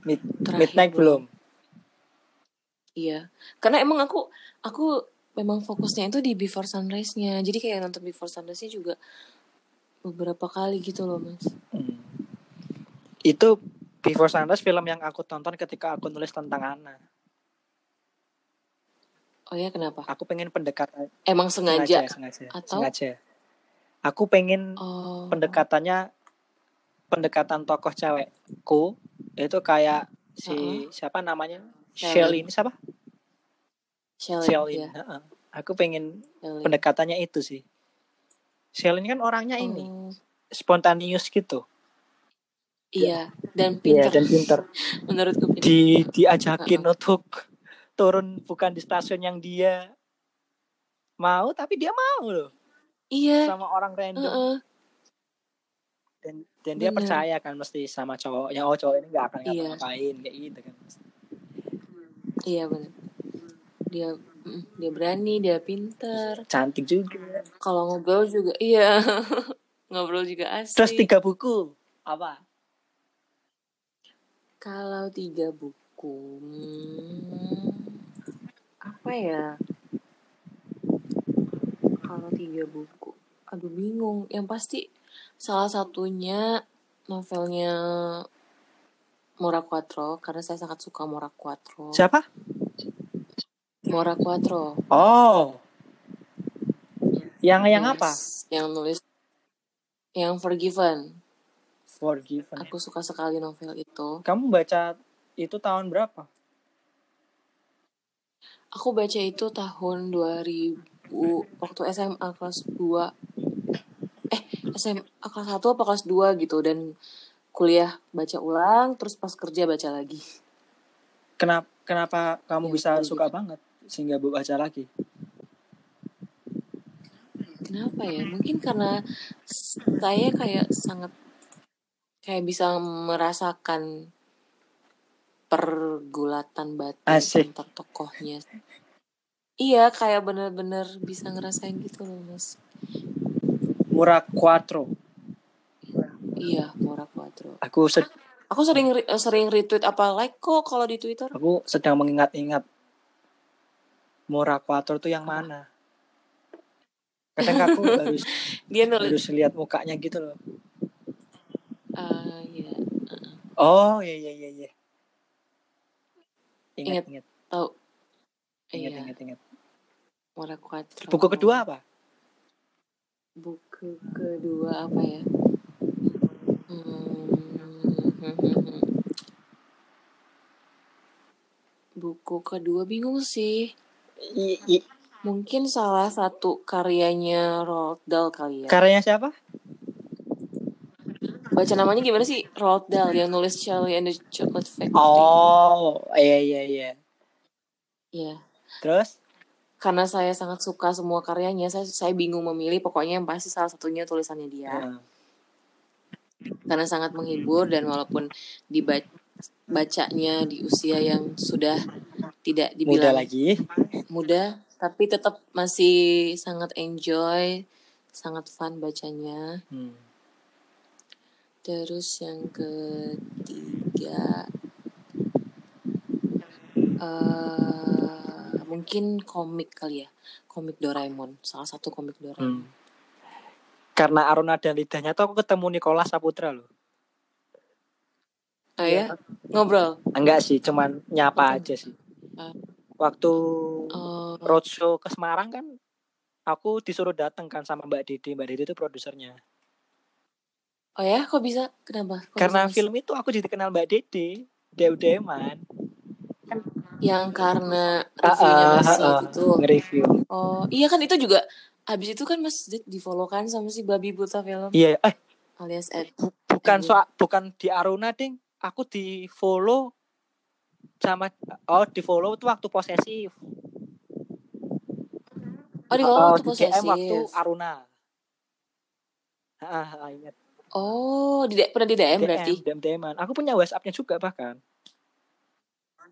[SPEAKER 2] Mid-
[SPEAKER 1] terakhir
[SPEAKER 2] Midnight
[SPEAKER 1] belum
[SPEAKER 2] belum.
[SPEAKER 1] iya karena emang aku aku memang fokusnya itu di before sunrise-nya jadi kayak nonton before sunrise-nya juga beberapa kali gitu loh mas
[SPEAKER 2] Hmm. Itu Before Sunrise film yang aku tonton ketika aku nulis tentang Ana.
[SPEAKER 1] oh ya kenapa
[SPEAKER 2] Aku pengen pendekatan
[SPEAKER 1] emang sengaja
[SPEAKER 2] sengaja ya? sengaja
[SPEAKER 1] atau
[SPEAKER 2] sengaja. Aku pengen
[SPEAKER 1] oh
[SPEAKER 2] pendekatannya pendekatan tokoh cewekku itu kayak
[SPEAKER 1] heeh
[SPEAKER 2] si siapa namanya
[SPEAKER 1] Shelin
[SPEAKER 2] Shelly ini siapa?
[SPEAKER 1] Shelin
[SPEAKER 2] Shelin.
[SPEAKER 1] ya
[SPEAKER 2] heeh. Aku pengen
[SPEAKER 1] Shelin
[SPEAKER 2] pendekatannya itu sih. Shelin kan orangnya ini
[SPEAKER 1] oh
[SPEAKER 2] spontanius gitu.
[SPEAKER 1] iya dan pinter
[SPEAKER 2] Iya dan pinter.
[SPEAKER 1] menurutku pinter
[SPEAKER 2] Di diajakin
[SPEAKER 1] Heeh.
[SPEAKER 2] untuk turun bukan di stasiun yang dia mau tapi dia mau loh
[SPEAKER 1] iya
[SPEAKER 2] sama orang random
[SPEAKER 1] heeh
[SPEAKER 2] dan dan dia
[SPEAKER 1] bener
[SPEAKER 2] percaya kan mesti sama cowoknya oh cowok ini nggak akan
[SPEAKER 1] iya
[SPEAKER 2] ngapa-ngapain kayak gitu kan
[SPEAKER 1] iya bener dia mm, dia berani dia pinter
[SPEAKER 2] cantik juga
[SPEAKER 1] kalau ngobrol juga iya ngobrol juga
[SPEAKER 2] terus
[SPEAKER 1] asik
[SPEAKER 2] tiga buku apa
[SPEAKER 1] kalau tiga buku hmm, apa ya kalau tiga buku aduh bingung yang pasti salah satunya novelnya Mora Quattro karena saya sangat suka Mora Quattro
[SPEAKER 2] siapa
[SPEAKER 1] Mora Quattro
[SPEAKER 2] oh yang yang
[SPEAKER 1] Iya.
[SPEAKER 2] apa
[SPEAKER 1] yes yang nulis yang Forgiven
[SPEAKER 2] forgiven ya
[SPEAKER 1] aku suka sekali novel itu
[SPEAKER 2] kamu baca itu tahun berapa
[SPEAKER 1] aku baca itu tahun 2000 waktu SMA kelas 2 eh SMA kelas 1 apa kelas 2 gitu dan kuliah baca ulang terus pas kerja baca lagi
[SPEAKER 2] kenapa kenapa kamu
[SPEAKER 1] yang
[SPEAKER 2] bisa suka
[SPEAKER 1] Forgiven
[SPEAKER 2] banget sehingga baca lagi
[SPEAKER 1] kenapa ya mungkin karena s- saya kayak sangat kayak bisa merasakan pergulatan batin
[SPEAKER 2] asik
[SPEAKER 1] antar tokohnya iya kayak bener-bener bisa ngerasain gitu loh mas
[SPEAKER 2] murah quattro
[SPEAKER 1] iya Mora Quattro
[SPEAKER 2] aku sed-
[SPEAKER 1] aku sering re- eh, sering retweet apa like kok kalau di Twitter
[SPEAKER 2] aku sedang mengingat-ingat murah quattro tuh yang
[SPEAKER 1] apa
[SPEAKER 2] mana kadang aku harus
[SPEAKER 1] dia nulis
[SPEAKER 2] harus lihat mukanya gitu loh
[SPEAKER 1] ah ya
[SPEAKER 2] oh iya iya iya iya.
[SPEAKER 1] ingat
[SPEAKER 2] ingat ingat
[SPEAKER 1] tahu
[SPEAKER 2] ingat
[SPEAKER 1] iya
[SPEAKER 2] ingat ingat
[SPEAKER 1] Mora Quattro
[SPEAKER 2] buku kedua apa
[SPEAKER 1] buku kedua apa ya hmm. buku kedua bingung sih
[SPEAKER 2] I- i-
[SPEAKER 1] mungkin salah satu karyanya Roald Dahl kali ya
[SPEAKER 2] karyanya siapa?
[SPEAKER 1] baca namanya gimana sih Roald Dahl yang nulis Charlie and the Chocolate Factory
[SPEAKER 2] Oh, iya iya iya.
[SPEAKER 1] Iya.
[SPEAKER 2] Terus
[SPEAKER 1] karena saya sangat suka semua karyanya saya saya bingung memilih pokoknya yang pasti salah satunya tulisannya dia
[SPEAKER 2] Heeh.
[SPEAKER 1] karena sangat menghibur dan walaupun dibaca bacanya di usia yang sudah tidak dibilang
[SPEAKER 2] muda lagi.
[SPEAKER 1] muda tapi tetap masih sangat enjoy sangat fun bacanya
[SPEAKER 2] Hmm.
[SPEAKER 1] terus yang ketiga eh mungkin komik kali ya komik Doraemon salah satu komik Doraemon
[SPEAKER 2] Hmm. Karena Aruna dan lidahnya tuh aku ketemu Nicholas Saputra loh.
[SPEAKER 1] oh
[SPEAKER 2] Iya.
[SPEAKER 1] ya ngobrol
[SPEAKER 2] Enggak sih, cuman
[SPEAKER 1] Ketemu.
[SPEAKER 2] nyapa aja sih.
[SPEAKER 1] Ah.
[SPEAKER 2] Waktu
[SPEAKER 1] Oh,
[SPEAKER 2] roadshow ke Semarang kan aku disuruh datang kan sama Mbak Didi. Mbak Didi itu produsernya.
[SPEAKER 1] oh ya kok bisa kenapa kok
[SPEAKER 2] Karena
[SPEAKER 1] bisa
[SPEAKER 2] film itu aku jadi kenal Mbak Didi. Dew-dewan.
[SPEAKER 1] yang karena
[SPEAKER 2] Ah,
[SPEAKER 1] reviewnya
[SPEAKER 2] ah,
[SPEAKER 1] Mas
[SPEAKER 2] ah,
[SPEAKER 1] Zed
[SPEAKER 2] ah.
[SPEAKER 1] itu
[SPEAKER 2] nge-review.
[SPEAKER 1] oh iya kan itu juga abis itu kan Mas Zed difollow-kan sama si babi buta film
[SPEAKER 2] Iya, eh
[SPEAKER 1] alias Ed
[SPEAKER 2] bu- bukan
[SPEAKER 1] Edwin
[SPEAKER 2] soal bukan di Aruna ding. Aku di follow sama oh di follow tuh waktu posesif.
[SPEAKER 1] oh di follow
[SPEAKER 2] Oh,
[SPEAKER 1] waktu
[SPEAKER 2] di DM waktu
[SPEAKER 1] posesif
[SPEAKER 2] Aruna. Ah, ah, ingat.
[SPEAKER 1] oh di pernah di DM berarti
[SPEAKER 2] DM, DM, DM-an. Aku punya WhatsApp-nya juga bahkan.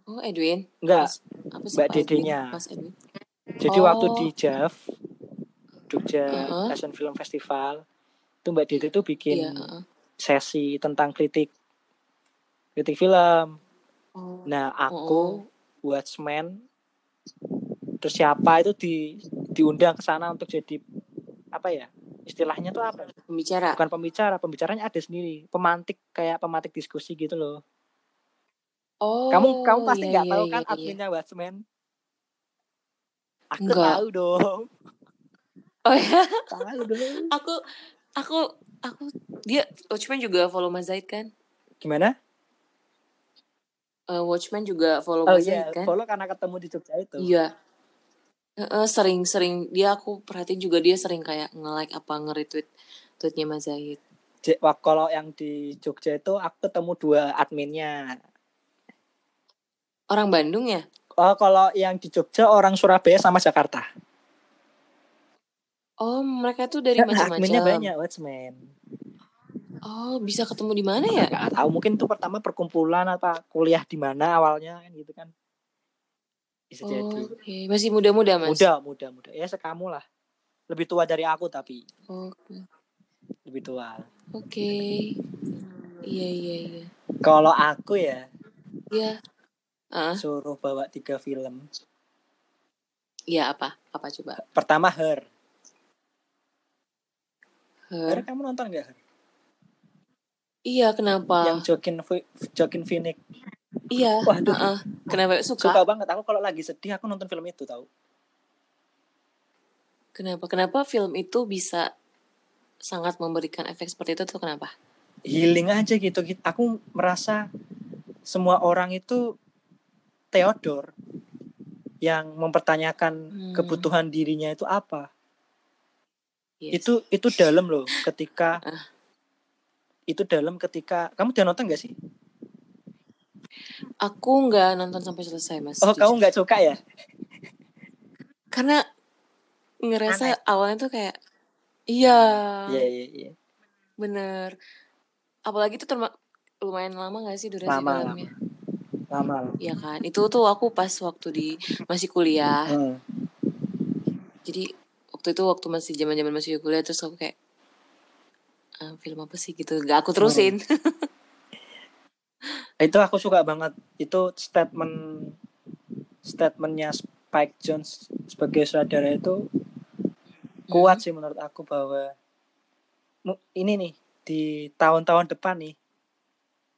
[SPEAKER 1] oh Edwin
[SPEAKER 2] Enggak,
[SPEAKER 1] Mas apa sih
[SPEAKER 2] Mbak
[SPEAKER 1] Pak Edwin
[SPEAKER 2] Dedenya.
[SPEAKER 1] Mas Edwin
[SPEAKER 2] Jadi waktu di
[SPEAKER 1] oh
[SPEAKER 2] JAV, Jogja
[SPEAKER 1] heeh,
[SPEAKER 2] Asian Film Festival, itu Mbak Dede tuh bikin
[SPEAKER 1] iya heeh.
[SPEAKER 2] sesi tentang kritik kritik film.
[SPEAKER 1] oh oh
[SPEAKER 2] Nah, aku Watchmen terus siapa itu di diundang ke sana untuk jadi apa ya? Istilahnya tuh apa?
[SPEAKER 1] pembicara
[SPEAKER 2] Bukan pembicara, pembicaranya ada sendiri, pemantik kayak pemantik diskusi gitu loh. Kamu kamu
[SPEAKER 1] oh
[SPEAKER 2] pasti
[SPEAKER 1] iya
[SPEAKER 2] nggak
[SPEAKER 1] iya
[SPEAKER 2] tahu
[SPEAKER 1] iya
[SPEAKER 2] kan
[SPEAKER 1] iya
[SPEAKER 2] adminnya Watchmen? Aku
[SPEAKER 1] enggak
[SPEAKER 2] tahu dong,
[SPEAKER 1] oh ya
[SPEAKER 2] tahu dong.
[SPEAKER 1] aku aku aku dia Watchmen juga follow Mas Zaid kan
[SPEAKER 2] Gimana?
[SPEAKER 1] Eh, Watchmen juga follow
[SPEAKER 2] Oh
[SPEAKER 1] Mas Zaid
[SPEAKER 2] iya,
[SPEAKER 1] kan
[SPEAKER 2] follow karena ketemu di Jogja itu.
[SPEAKER 1] iya Heeh, sering-sering dia aku perhatiin juga dia sering kayak nge-like apa nge-retweet tweetnya Mas Zahid.
[SPEAKER 2] J- wak- kalau yang di Jogja itu aku ketemu dua adminnya.
[SPEAKER 1] Orang Bandung ya?
[SPEAKER 2] Oh, kalau yang di Jogja orang Surabaya sama Jakarta.
[SPEAKER 1] Oh, mereka tuh dari
[SPEAKER 2] Kan adminnya
[SPEAKER 1] macam-macam.
[SPEAKER 2] banyak, Watchmen.
[SPEAKER 1] Oh, bisa ketemu di mana ya?
[SPEAKER 2] Gak tahu mungkin itu pertama perkumpulan apa kuliah di mana awalnya kan gitu kan. Bisa jadi.
[SPEAKER 1] Oke, masih muda-muda, Oh, iya, Mas.
[SPEAKER 2] Muda, muda, muda. Ya sekamu lah. Lebih tua dari aku tapi
[SPEAKER 1] Oke.
[SPEAKER 2] lebih tua.
[SPEAKER 1] Oke. Iya, iya, iya.
[SPEAKER 2] Kalau aku ya
[SPEAKER 1] Iya. Ah,
[SPEAKER 2] suruh bawa tiga film.
[SPEAKER 1] iya apa? Apa coba?
[SPEAKER 2] Pertama Her.
[SPEAKER 1] Her.
[SPEAKER 2] Her kamu nonton gak Her?
[SPEAKER 1] Iya,
[SPEAKER 2] Yang
[SPEAKER 1] kenapa?
[SPEAKER 2] Joaquin Ph- Joaquin Phoenix.
[SPEAKER 1] Iya,
[SPEAKER 2] Waduh,
[SPEAKER 1] heeh. Kenapa
[SPEAKER 2] suka
[SPEAKER 1] suka?
[SPEAKER 2] banget aku kalau lagi sedih aku nonton film itu tahu
[SPEAKER 1] Kenapa? Kenapa film itu bisa sangat memberikan efek seperti itu tuh kenapa?
[SPEAKER 2] healing aja gitu gitu aku merasa semua orang itu Theodore yang mempertanyakan
[SPEAKER 1] Hmm,
[SPEAKER 2] kebutuhan dirinya itu apa
[SPEAKER 1] iya sih.
[SPEAKER 2] itu itu dalam loh ketika
[SPEAKER 1] Ah,
[SPEAKER 2] itu dalam ketika kamu udah nonton gak sih
[SPEAKER 1] Aku nggak nonton sampai selesai mas,
[SPEAKER 2] oh kamu
[SPEAKER 1] jujur.
[SPEAKER 2] nggak suka ya
[SPEAKER 1] Karena
[SPEAKER 2] aneh
[SPEAKER 1] ngerasa awalnya tuh kayak, iya
[SPEAKER 2] iya iya iya
[SPEAKER 1] bener. Apalagi itu terma- lumayan lama gak sih durasi
[SPEAKER 2] lama
[SPEAKER 1] filmnya?
[SPEAKER 2] lama lama
[SPEAKER 1] Iya kan, itu tuh aku pas waktu di masih kuliah.
[SPEAKER 2] Hmm.
[SPEAKER 1] Jadi waktu itu waktu masih zaman zaman masih kuliah terus aku kayak "Ah, film apa sih gitu, gak aku
[SPEAKER 2] Hmm.
[SPEAKER 1] terusin.
[SPEAKER 2] itu aku suka banget itu statement statementnya Spike Jones sebagai saudara itu kuat
[SPEAKER 1] Hmm,
[SPEAKER 2] sih menurut aku bahwa mu- ini nih di tahun-tahun depan nih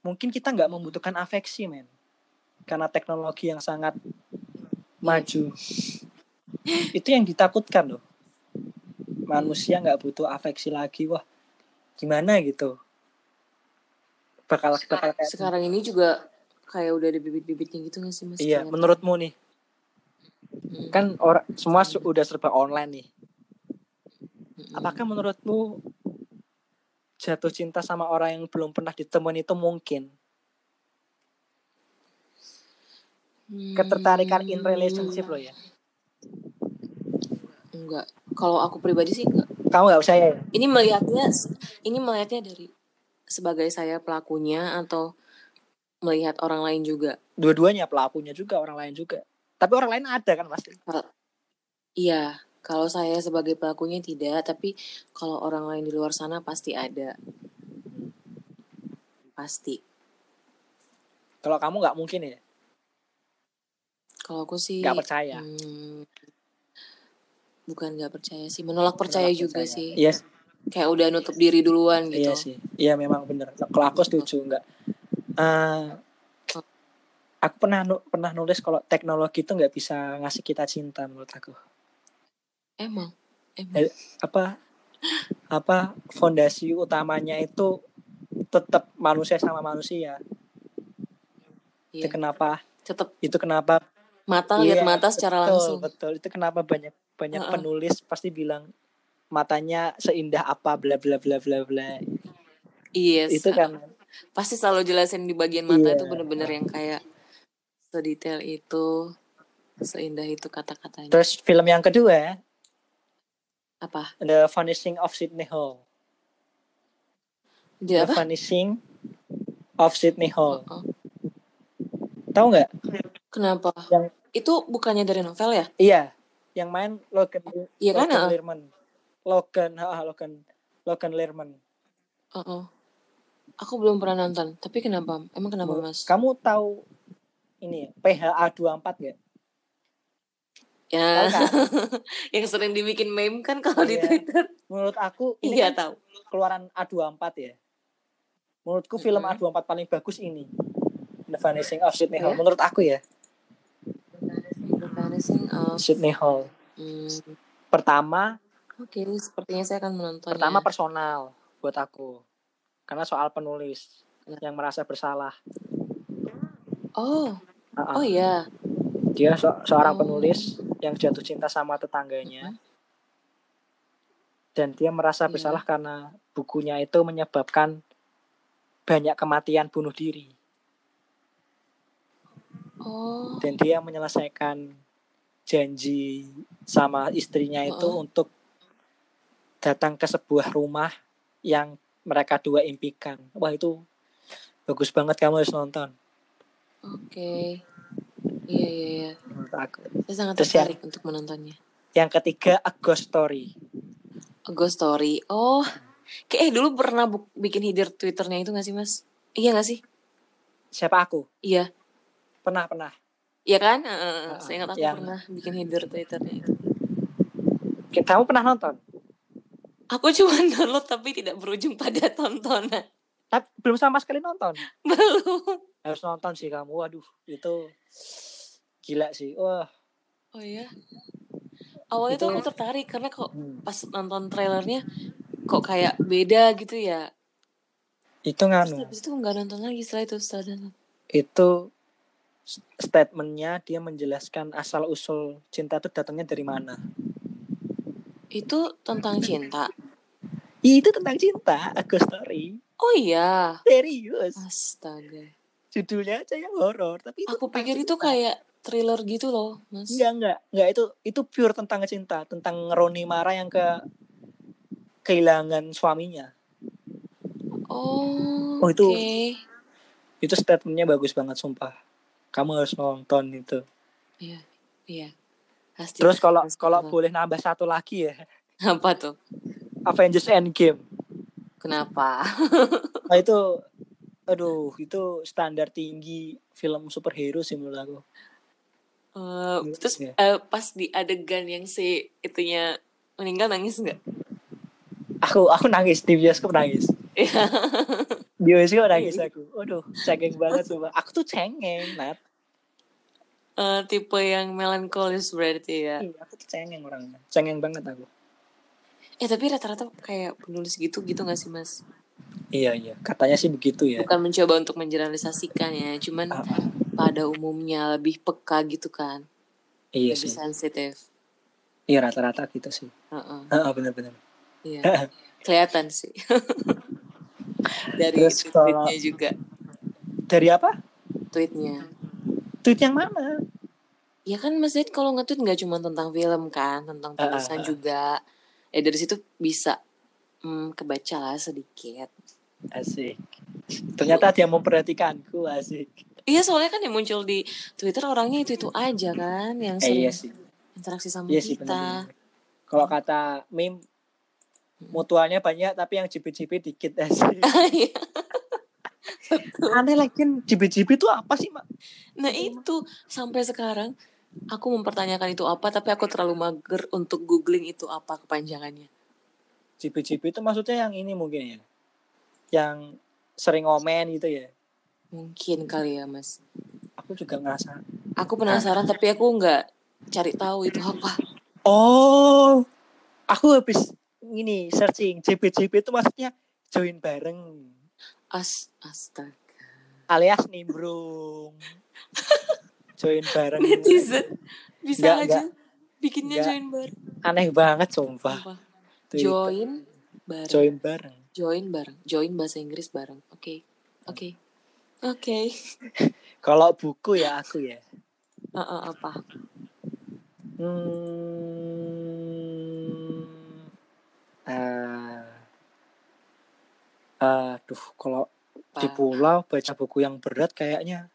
[SPEAKER 2] mungkin kita nggak membutuhkan afeksi men karena teknologi yang sangat
[SPEAKER 1] iya,
[SPEAKER 2] maju itu yang ditakutkan loh
[SPEAKER 1] iya,
[SPEAKER 2] manusia nggak butuh afeksi lagi wah gimana gitu bakal bakal kayak
[SPEAKER 1] Sekarang ini juga kayak udah ada bibit-bibitnya gitu nggak sih mas?
[SPEAKER 2] Iya,
[SPEAKER 1] Kayaknya.
[SPEAKER 2] menurutmu nih,
[SPEAKER 1] gitu. Mm,
[SPEAKER 2] kan orang semua su- udah serba online nih.
[SPEAKER 1] mm,
[SPEAKER 2] Apakah menurutmu jatuh cinta sama orang yang belum pernah ditemuin itu mungkin?
[SPEAKER 1] mm.
[SPEAKER 2] Ketertarikan in relationship lo ya.
[SPEAKER 1] Hmm, Enggak. Kalau aku pribadi sih enggak.
[SPEAKER 2] Kamu nggak usah ya?
[SPEAKER 1] Ini melihatnya ini melihatnya dari sebagai saya pelakunya atau melihat orang lain juga.
[SPEAKER 2] Dua-duanya pelakunya juga, orang lain juga. Tapi orang lain ada kan pasti.
[SPEAKER 1] Iya, kalau saya sebagai pelakunya tidak, tapi kalau orang lain di luar sana pasti ada. Pasti.
[SPEAKER 2] Kalau kamu nggak mungkin ya,
[SPEAKER 1] Kalau aku sih
[SPEAKER 2] nggak percaya.
[SPEAKER 1] hmm, bukan nggak percaya sih, menolak percaya
[SPEAKER 2] Menolak
[SPEAKER 1] juga
[SPEAKER 2] percaya.
[SPEAKER 1] sih.
[SPEAKER 2] Iya, sih,
[SPEAKER 1] Kayak udah nutup diri duluan gitu.
[SPEAKER 2] iya sih. Iya memang bener. Kalau aku setuju nggak. Eh, aku pernah nu- pernah nulis kalau teknologi itu nggak bisa ngasih kita cinta menurut aku.
[SPEAKER 1] Emang, emang.
[SPEAKER 2] Eh, apa apa fondasi utamanya itu tetap manusia sama manusia. Itu
[SPEAKER 1] Iya.
[SPEAKER 2] kenapa?
[SPEAKER 1] Tetap
[SPEAKER 2] Itu kenapa?
[SPEAKER 1] mata lihat
[SPEAKER 2] Iya,
[SPEAKER 1] mata secara
[SPEAKER 2] betul,
[SPEAKER 1] langsung.
[SPEAKER 2] Betul, itu kenapa banyak banyak
[SPEAKER 1] Heeh.
[SPEAKER 2] penulis pasti bilang matanya seindah apa bla bla bla bla bla.
[SPEAKER 1] Yes. ah.
[SPEAKER 2] Itu kan
[SPEAKER 1] Pasti selalu jelasin di bagian mata
[SPEAKER 2] Iya.
[SPEAKER 1] itu bener-bener yang kayak sedetail itu, seindah itu kata-katanya.
[SPEAKER 2] Terus film yang kedua,
[SPEAKER 1] Apa?
[SPEAKER 2] The Vanishing of Sydney Hall.
[SPEAKER 1] Dia Iya,
[SPEAKER 2] The
[SPEAKER 1] apa?
[SPEAKER 2] Vanishing of Sydney Hall.
[SPEAKER 1] Heeh.
[SPEAKER 2] Tahu nggak?
[SPEAKER 1] Kenapa?
[SPEAKER 2] Yang-
[SPEAKER 1] Itu bukannya dari novel ya?
[SPEAKER 2] Iya, yang main Logan
[SPEAKER 1] Iya kan?
[SPEAKER 2] Logan
[SPEAKER 1] heeh.
[SPEAKER 2] Lerman. Logan, ah, Logan Logan Lerman.
[SPEAKER 1] Heeh. oh, Aku belum pernah nonton. Tapi kenapa? Emang kenapa mas?
[SPEAKER 2] Kamu tahu ini ya, PHA 24 nggak? ya? Tahu kan?
[SPEAKER 1] Ya,
[SPEAKER 2] nggak?
[SPEAKER 1] yang sering dibikin meme kan kalau di
[SPEAKER 2] Iya.
[SPEAKER 1] Twitter.
[SPEAKER 2] Menurut aku ini
[SPEAKER 1] Iya
[SPEAKER 2] kan
[SPEAKER 1] tahu.
[SPEAKER 2] keluaran A24 ya. Menurutku film
[SPEAKER 1] Mm-mm.
[SPEAKER 2] A24 paling bagus ini. The Vanishing of Sydney Hall.
[SPEAKER 1] Iya?
[SPEAKER 2] Menurut aku ya,
[SPEAKER 1] The Vanishing of-
[SPEAKER 2] Sydney
[SPEAKER 1] oh.
[SPEAKER 2] Hall.
[SPEAKER 1] Hmm,
[SPEAKER 2] Pertama,
[SPEAKER 1] Iya. Oke, sepertinya saya akan ya. menontonnya.
[SPEAKER 2] pertama personal buat aku. Karena soal penulis yang merasa bersalah.
[SPEAKER 1] Oh,
[SPEAKER 2] Ah,
[SPEAKER 1] oh
[SPEAKER 2] ah.
[SPEAKER 1] ya.
[SPEAKER 2] Dia se- seorang
[SPEAKER 1] Oh.
[SPEAKER 2] penulis yang jatuh cinta sama tetangganya dan dia merasa
[SPEAKER 1] Iya.
[SPEAKER 2] bersalah karena bukunya itu menyebabkan banyak kematian bunuh diri.
[SPEAKER 1] Oh,
[SPEAKER 2] dan dia menyelesaikan janji sama istrinya itu
[SPEAKER 1] Heeh.
[SPEAKER 2] untuk datang ke sebuah rumah yang mereka dua impikan. Wah itu bagus banget kamu harus nonton
[SPEAKER 1] oke. Iya, iya, iya.
[SPEAKER 2] menurut aku.
[SPEAKER 1] Saya sangat
[SPEAKER 2] Terus yang-
[SPEAKER 1] tertarik untuk menontonnya.
[SPEAKER 2] Yang ketiga A Ghost Story.
[SPEAKER 1] A Ghost Story. Oh, kayak eh, dulu pernah bu- bikin hidir Twitternya itu gak sih, Mas? Iya gak sih?
[SPEAKER 2] Siapa aku?
[SPEAKER 1] Iya.
[SPEAKER 2] Pernah pernah.
[SPEAKER 1] Iya kan? Eh, eh, eh.
[SPEAKER 2] Heeh.
[SPEAKER 1] Saya ingat aku
[SPEAKER 2] Yang-
[SPEAKER 1] pernah bikin hidir Twitternya itu.
[SPEAKER 2] Ki- Kamu pernah nonton?
[SPEAKER 1] Aku cuma download tapi tidak berujung pada tontonan.
[SPEAKER 2] Tapi belum sama sekali nonton.
[SPEAKER 1] Belum.
[SPEAKER 2] Harus nonton sih kamu. Waduh itu gila sih. Wah.
[SPEAKER 1] Oh iya. Awalnya tuh
[SPEAKER 2] Itu-
[SPEAKER 1] aku tertarik karena kok
[SPEAKER 2] Hmm.
[SPEAKER 1] pas nonton trailernya kok kayak beda gitu ya.
[SPEAKER 2] Itu
[SPEAKER 1] Terus
[SPEAKER 2] nganu.
[SPEAKER 1] habis itu nggak nonton lagi setelah itu setelah nonton.
[SPEAKER 2] itu s- statementnya dia menjelaskan asal usul cinta itu datangnya dari mana.
[SPEAKER 1] Itu tentang cinta.
[SPEAKER 2] Ya, Itu tentang cinta, a ghost story.
[SPEAKER 1] Oh iya.
[SPEAKER 2] Serius.
[SPEAKER 1] Astaga.
[SPEAKER 2] Judulnya aja yang horor, tapi itu
[SPEAKER 1] Aku
[SPEAKER 2] tentang
[SPEAKER 1] pikir itu
[SPEAKER 2] cinta.
[SPEAKER 1] kayak thriller gitu loh, Mas.
[SPEAKER 2] enggak enggak enggak itu itu pure tentang cinta, tentang Roni Mara yang ke kehilangan suaminya.
[SPEAKER 1] Oh,
[SPEAKER 2] Oh,
[SPEAKER 1] oke.
[SPEAKER 2] itu- Itu statementnya bagus banget sumpah. Kamu harus nonton itu.
[SPEAKER 1] Iya, iya. Pasti.
[SPEAKER 2] Terus kalau
[SPEAKER 1] Pasti
[SPEAKER 2] kalau
[SPEAKER 1] nonton.
[SPEAKER 2] boleh nambah satu lagi ya,
[SPEAKER 1] apa tuh?
[SPEAKER 2] Avengers Endgame.
[SPEAKER 1] Kenapa?
[SPEAKER 2] Nah itu aduh, itu standar tinggi film superhero sih menurut aku.
[SPEAKER 1] Eh, terus
[SPEAKER 2] Iya.
[SPEAKER 1] eh, pas di adegan yang si itunya meninggal nangis nggak?
[SPEAKER 2] aku aku nangis di bioskop nangis
[SPEAKER 1] Iya.
[SPEAKER 2] di bioskop nangis aku aduh cengeng banget sumpah aku tuh cengeng nat
[SPEAKER 1] Eh, tipe yang melankolis berarti ya.
[SPEAKER 2] Iya, aku tuh cengeng orangnya cengeng banget aku
[SPEAKER 1] Eh tapi rata-rata kayak penulis gitu gitu gak sih mas?
[SPEAKER 2] Iya iya, katanya sih begitu ya.
[SPEAKER 1] bukan mencoba untuk menjeralisasikan ya cuman
[SPEAKER 2] Ah,
[SPEAKER 1] pada umumnya lebih peka gitu kan
[SPEAKER 2] iya
[SPEAKER 1] lebih
[SPEAKER 2] sih.
[SPEAKER 1] sensitif
[SPEAKER 2] Iya rata-rata gitu sih.
[SPEAKER 1] Heeh,
[SPEAKER 2] Heeh, benar-benar.
[SPEAKER 1] iya kelihatan sih dari
[SPEAKER 2] Terus
[SPEAKER 1] tweet-
[SPEAKER 2] kalau-
[SPEAKER 1] tweetnya juga
[SPEAKER 2] Dari apa?
[SPEAKER 1] tweetnya
[SPEAKER 2] Tweet yang mana?
[SPEAKER 1] ya kan Mas Zaid kalau nge-tweet nggak cuma tentang film kan tentang
[SPEAKER 2] Ah, ah,
[SPEAKER 1] tulisan
[SPEAKER 2] ah.
[SPEAKER 1] juga eh dari situ bisa hmm, kebaca lah sedikit
[SPEAKER 2] Asik. Ternyata dia memperhatikanku, asik.
[SPEAKER 1] iya soalnya kan yang muncul di Twitter orangnya itu itu aja kan yang
[SPEAKER 2] Eh,
[SPEAKER 1] sering
[SPEAKER 2] iya sih.
[SPEAKER 1] interaksi sama
[SPEAKER 2] Iya sih
[SPEAKER 1] kita
[SPEAKER 2] benar. Kalau kata meme mutualnya banyak tapi yang jipit-jipit dikit asik.
[SPEAKER 1] Iya.
[SPEAKER 2] Aneh lagi jipit-jipit itu apa sih, Mak?
[SPEAKER 1] nah itu sampai sekarang aku mempertanyakan itu apa tapi aku terlalu mager untuk googling itu apa kepanjangannya
[SPEAKER 2] Jipit-jipit itu maksudnya yang ini mungkin ya. Yang sering ngomen gitu ya.
[SPEAKER 1] mungkin kali ya Mas
[SPEAKER 2] Aku juga ngerasa.
[SPEAKER 1] aku penasaran
[SPEAKER 2] Ah.
[SPEAKER 1] tapi aku nggak cari tahu itu apa
[SPEAKER 2] Oh, aku habis ini searching jipit-jipit itu maksudnya join bareng
[SPEAKER 1] as astaga
[SPEAKER 2] alias nimbrung. join bareng.
[SPEAKER 1] netizen bisa
[SPEAKER 2] Nggak,
[SPEAKER 1] aja bikinnya
[SPEAKER 2] Nggak.
[SPEAKER 1] join bareng
[SPEAKER 2] Aneh banget sumpah.
[SPEAKER 1] Sumpah.
[SPEAKER 2] Twitter.
[SPEAKER 1] join bareng join.
[SPEAKER 2] join bareng.
[SPEAKER 1] bareng join bahasa Inggris bareng oke oke oke
[SPEAKER 2] Kalau buku ya aku ya.
[SPEAKER 1] Ah, ah, apa
[SPEAKER 2] Hmm. Ah. aduh, kalau
[SPEAKER 1] apa
[SPEAKER 2] di pulau baca buku yang berat kayaknya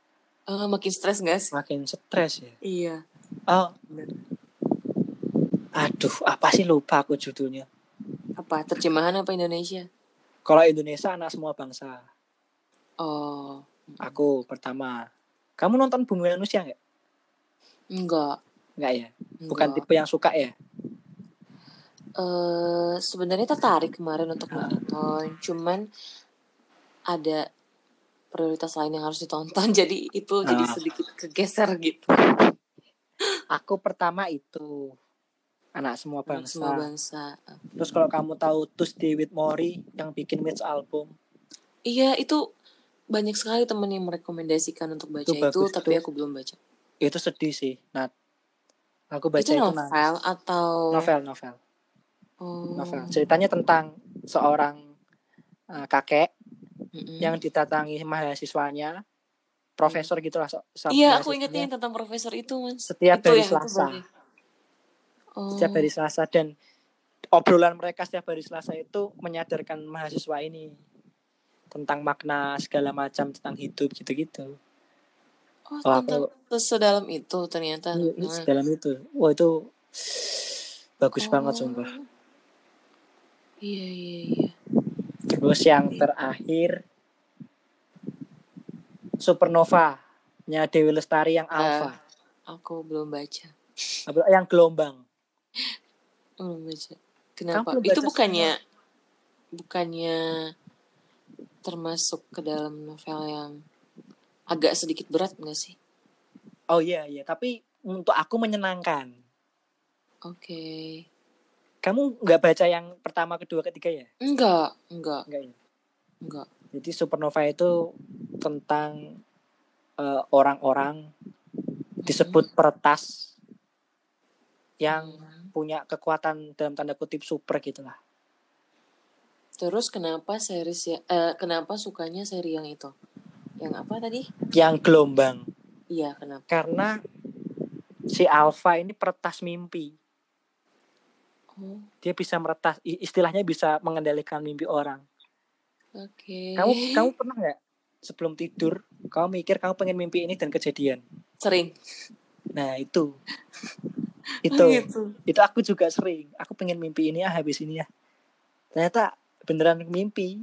[SPEAKER 1] Ah, makin stres nggak sih
[SPEAKER 2] makin stres ya.
[SPEAKER 1] iya
[SPEAKER 2] Oh,
[SPEAKER 1] bener.
[SPEAKER 2] aduh, apa sih lupa aku judulnya.
[SPEAKER 1] apa terjemahan apa Indonesia
[SPEAKER 2] Kalau Indonesia anak semua bangsa.
[SPEAKER 1] Hmm. oh
[SPEAKER 2] Aku pertama. Kamu nonton Bumi Manusia nggak?
[SPEAKER 1] enggak
[SPEAKER 2] Nggak ya.
[SPEAKER 1] enggak.
[SPEAKER 2] Bukan tipe yang suka ya.
[SPEAKER 1] Eh, sebenarnya tertarik kemarin untuk
[SPEAKER 2] Ah.
[SPEAKER 1] menonton, cuman ada prioritas lain yang harus ditonton, jadi itu jadi
[SPEAKER 2] Ah.
[SPEAKER 1] sedikit kegeser gitu.
[SPEAKER 2] Aku pertama itu anak semua
[SPEAKER 1] Anak
[SPEAKER 2] bangsa.
[SPEAKER 1] semua bangsa.
[SPEAKER 2] Terus kalau kamu tahu Tuesday with Mori yang bikin Mitch album
[SPEAKER 1] Iya itu banyak sekali temen yang merekomendasikan untuk baca
[SPEAKER 2] Itu
[SPEAKER 1] itu,
[SPEAKER 2] bagus
[SPEAKER 1] tapi
[SPEAKER 2] tuh.
[SPEAKER 1] aku belum baca.
[SPEAKER 2] itu sedih sih. Nah, aku baca
[SPEAKER 1] itu
[SPEAKER 2] itu, nangis.
[SPEAKER 1] novel atau
[SPEAKER 2] novel, novel,
[SPEAKER 1] Oh.
[SPEAKER 2] novel. Ceritanya tentang seorang eh, kakek
[SPEAKER 1] Hmm. Mm-mm.
[SPEAKER 2] yang ditatangi mahasiswanya, profesor gitulah. so- so-
[SPEAKER 1] Iya aku
[SPEAKER 2] mahasiswanya.
[SPEAKER 1] ingatnya yang tentang profesor itu mas.
[SPEAKER 2] ya. Setiap
[SPEAKER 1] itu
[SPEAKER 2] hari
[SPEAKER 1] yang itu
[SPEAKER 2] Selasa.
[SPEAKER 1] berarti. Oh.
[SPEAKER 2] setiap hari Selasa dan obrolan mereka setiap hari Selasa itu menyadarkan mahasiswa ini tentang makna segala macam tentang hidup gitu-gitu.
[SPEAKER 1] Oh,
[SPEAKER 2] Oh,
[SPEAKER 1] tentang sedalam itu ternyata.
[SPEAKER 2] Iya,
[SPEAKER 1] Ah.
[SPEAKER 2] dalam itu. Wah, itu bagus banget sumpah.
[SPEAKER 1] Oh. Iya iya iya.
[SPEAKER 2] Terus yang terakhir Supernova nya Dewi Lestari yang Alpha,
[SPEAKER 1] Aku belum baca.
[SPEAKER 2] Apa- yang gelombang.
[SPEAKER 1] Belum baca. Kenapa?
[SPEAKER 2] Kamu belum
[SPEAKER 1] Itu
[SPEAKER 2] baca
[SPEAKER 1] bukannya bukannya termasuk ke dalam novel yang agak sedikit berat enggak sih?
[SPEAKER 2] Oh iya iya, tapi untuk aku menyenangkan.
[SPEAKER 1] Oke.
[SPEAKER 2] Kamu nggak baca yang pertama, kedua, ketiga ya?
[SPEAKER 1] Enggak, enggak,
[SPEAKER 2] Enggak ya.
[SPEAKER 1] enggak.
[SPEAKER 2] Jadi Supernova itu tentang eh, orang-orang disebut peretas yang
[SPEAKER 1] Mm-mm.
[SPEAKER 2] punya kekuatan dalam tanda kutip super gitu lah.
[SPEAKER 1] Terus kenapa series ya, eh, kenapa sukanya seri yang itu? Yang apa tadi?
[SPEAKER 2] Yang gelombang
[SPEAKER 1] Iya, kenapa?
[SPEAKER 2] karena si Alpha ini peretas mimpi.
[SPEAKER 1] Oh,
[SPEAKER 2] dia bisa meretas i- istilahnya bisa mengendalikan mimpi orang
[SPEAKER 1] oke.
[SPEAKER 2] kamu kamu pernah nggak sebelum tidur kamu mikir kamu pengen mimpi ini dan kejadian
[SPEAKER 1] sering
[SPEAKER 2] nah
[SPEAKER 1] Oh,
[SPEAKER 2] itu itu
[SPEAKER 1] gitu.
[SPEAKER 2] itu aku juga sering aku pengen mimpi ini ah habis ini ya ternyata beneran mimpi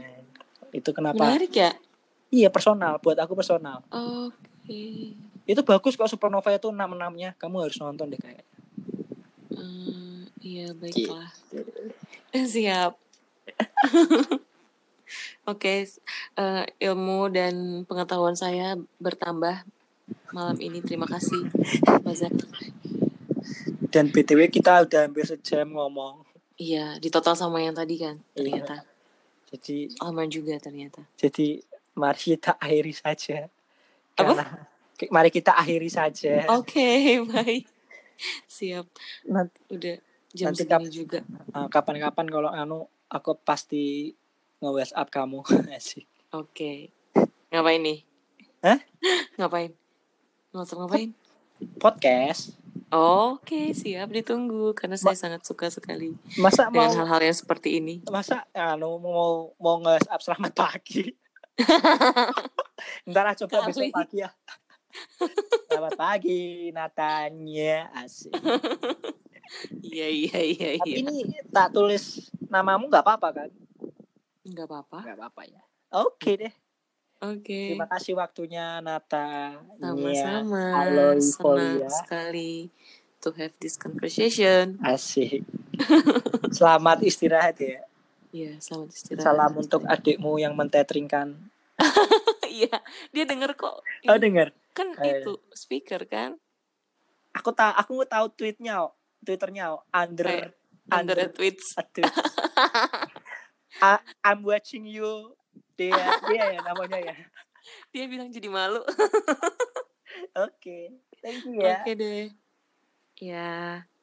[SPEAKER 1] Oh.
[SPEAKER 2] Nah, itu kenapa
[SPEAKER 1] Menarik ya?
[SPEAKER 2] iya personal buat aku personal
[SPEAKER 1] Oke.
[SPEAKER 2] itu bagus kok supernova itu enam enamnya kamu harus nonton deh kayak
[SPEAKER 1] Hmm, iya baiklah. Siap. Oke, eh, ilmu dan pengetahuan saya bertambah malam ini. Terima kasih, Mas Zak.
[SPEAKER 2] dan btw kita udah hampir sejam ngomong
[SPEAKER 1] Iya,
[SPEAKER 2] Iya.
[SPEAKER 1] ditotal sama yang tadi kan, ternyata.
[SPEAKER 2] Jadi
[SPEAKER 1] Lama juga ternyata.
[SPEAKER 2] jadi mari kita akhiri saja.
[SPEAKER 1] Apa?
[SPEAKER 2] Karena- Ki- Mari kita akhiri saja.
[SPEAKER 1] Oke, baik. Siap.
[SPEAKER 2] Nanti
[SPEAKER 1] Udah jam
[SPEAKER 2] Nanti
[SPEAKER 1] segini juga.
[SPEAKER 2] uh, kapan-kapan kalau anu aku pasti nge-WhatsApp kamu. Asik.
[SPEAKER 1] Oke. Ngapain nih?
[SPEAKER 2] Hah?
[SPEAKER 1] Ngapain? Ngotot ngapain?
[SPEAKER 2] Podcast.
[SPEAKER 1] Oke, siap ditunggu karena saya sangat suka sekali
[SPEAKER 2] Masa
[SPEAKER 1] dengan
[SPEAKER 2] mau
[SPEAKER 1] hal-hal yang seperti ini.
[SPEAKER 2] masa anu mau mau nge-WhatsApp selamat pagi. Ntar ah, coba
[SPEAKER 1] Kali.
[SPEAKER 2] besok pagi ya. Selamat pagi Natanya asik.
[SPEAKER 1] Iya, iya, iya,
[SPEAKER 2] Tapi
[SPEAKER 1] iya.
[SPEAKER 2] ini tak tulis namamu nggak apa-apa kan?
[SPEAKER 1] Enggak apa-apa.
[SPEAKER 2] Nggak apa-apa ya. Oke deh.
[SPEAKER 1] Oke.
[SPEAKER 2] Terima kasih waktunya Nata. Iya, Nia.
[SPEAKER 1] Sama-sama.
[SPEAKER 2] Aloy
[SPEAKER 1] Senang
[SPEAKER 2] Folia.
[SPEAKER 1] sekali to have this conversation.
[SPEAKER 2] Asik. Selamat istirahat ya.
[SPEAKER 1] Iya, selamat istirahat.
[SPEAKER 2] Salam untuk adikmu yang mentetringkan.
[SPEAKER 1] Iya, dia denger kok.
[SPEAKER 2] Oh
[SPEAKER 1] Ini
[SPEAKER 2] dengar.
[SPEAKER 1] kan
[SPEAKER 2] Eh.
[SPEAKER 1] itu speaker kan?
[SPEAKER 2] Aku tahu aku tahu tweetnya. oh. Twitternya oh.
[SPEAKER 1] Eh,
[SPEAKER 2] under
[SPEAKER 1] Under
[SPEAKER 2] under
[SPEAKER 1] the tweets.
[SPEAKER 2] aduh. I- I'm watching you. Dia dia ya namanya ya.
[SPEAKER 1] Dia bilang jadi malu.
[SPEAKER 2] Oke. Thank you ya.
[SPEAKER 1] Oke deh. Ya.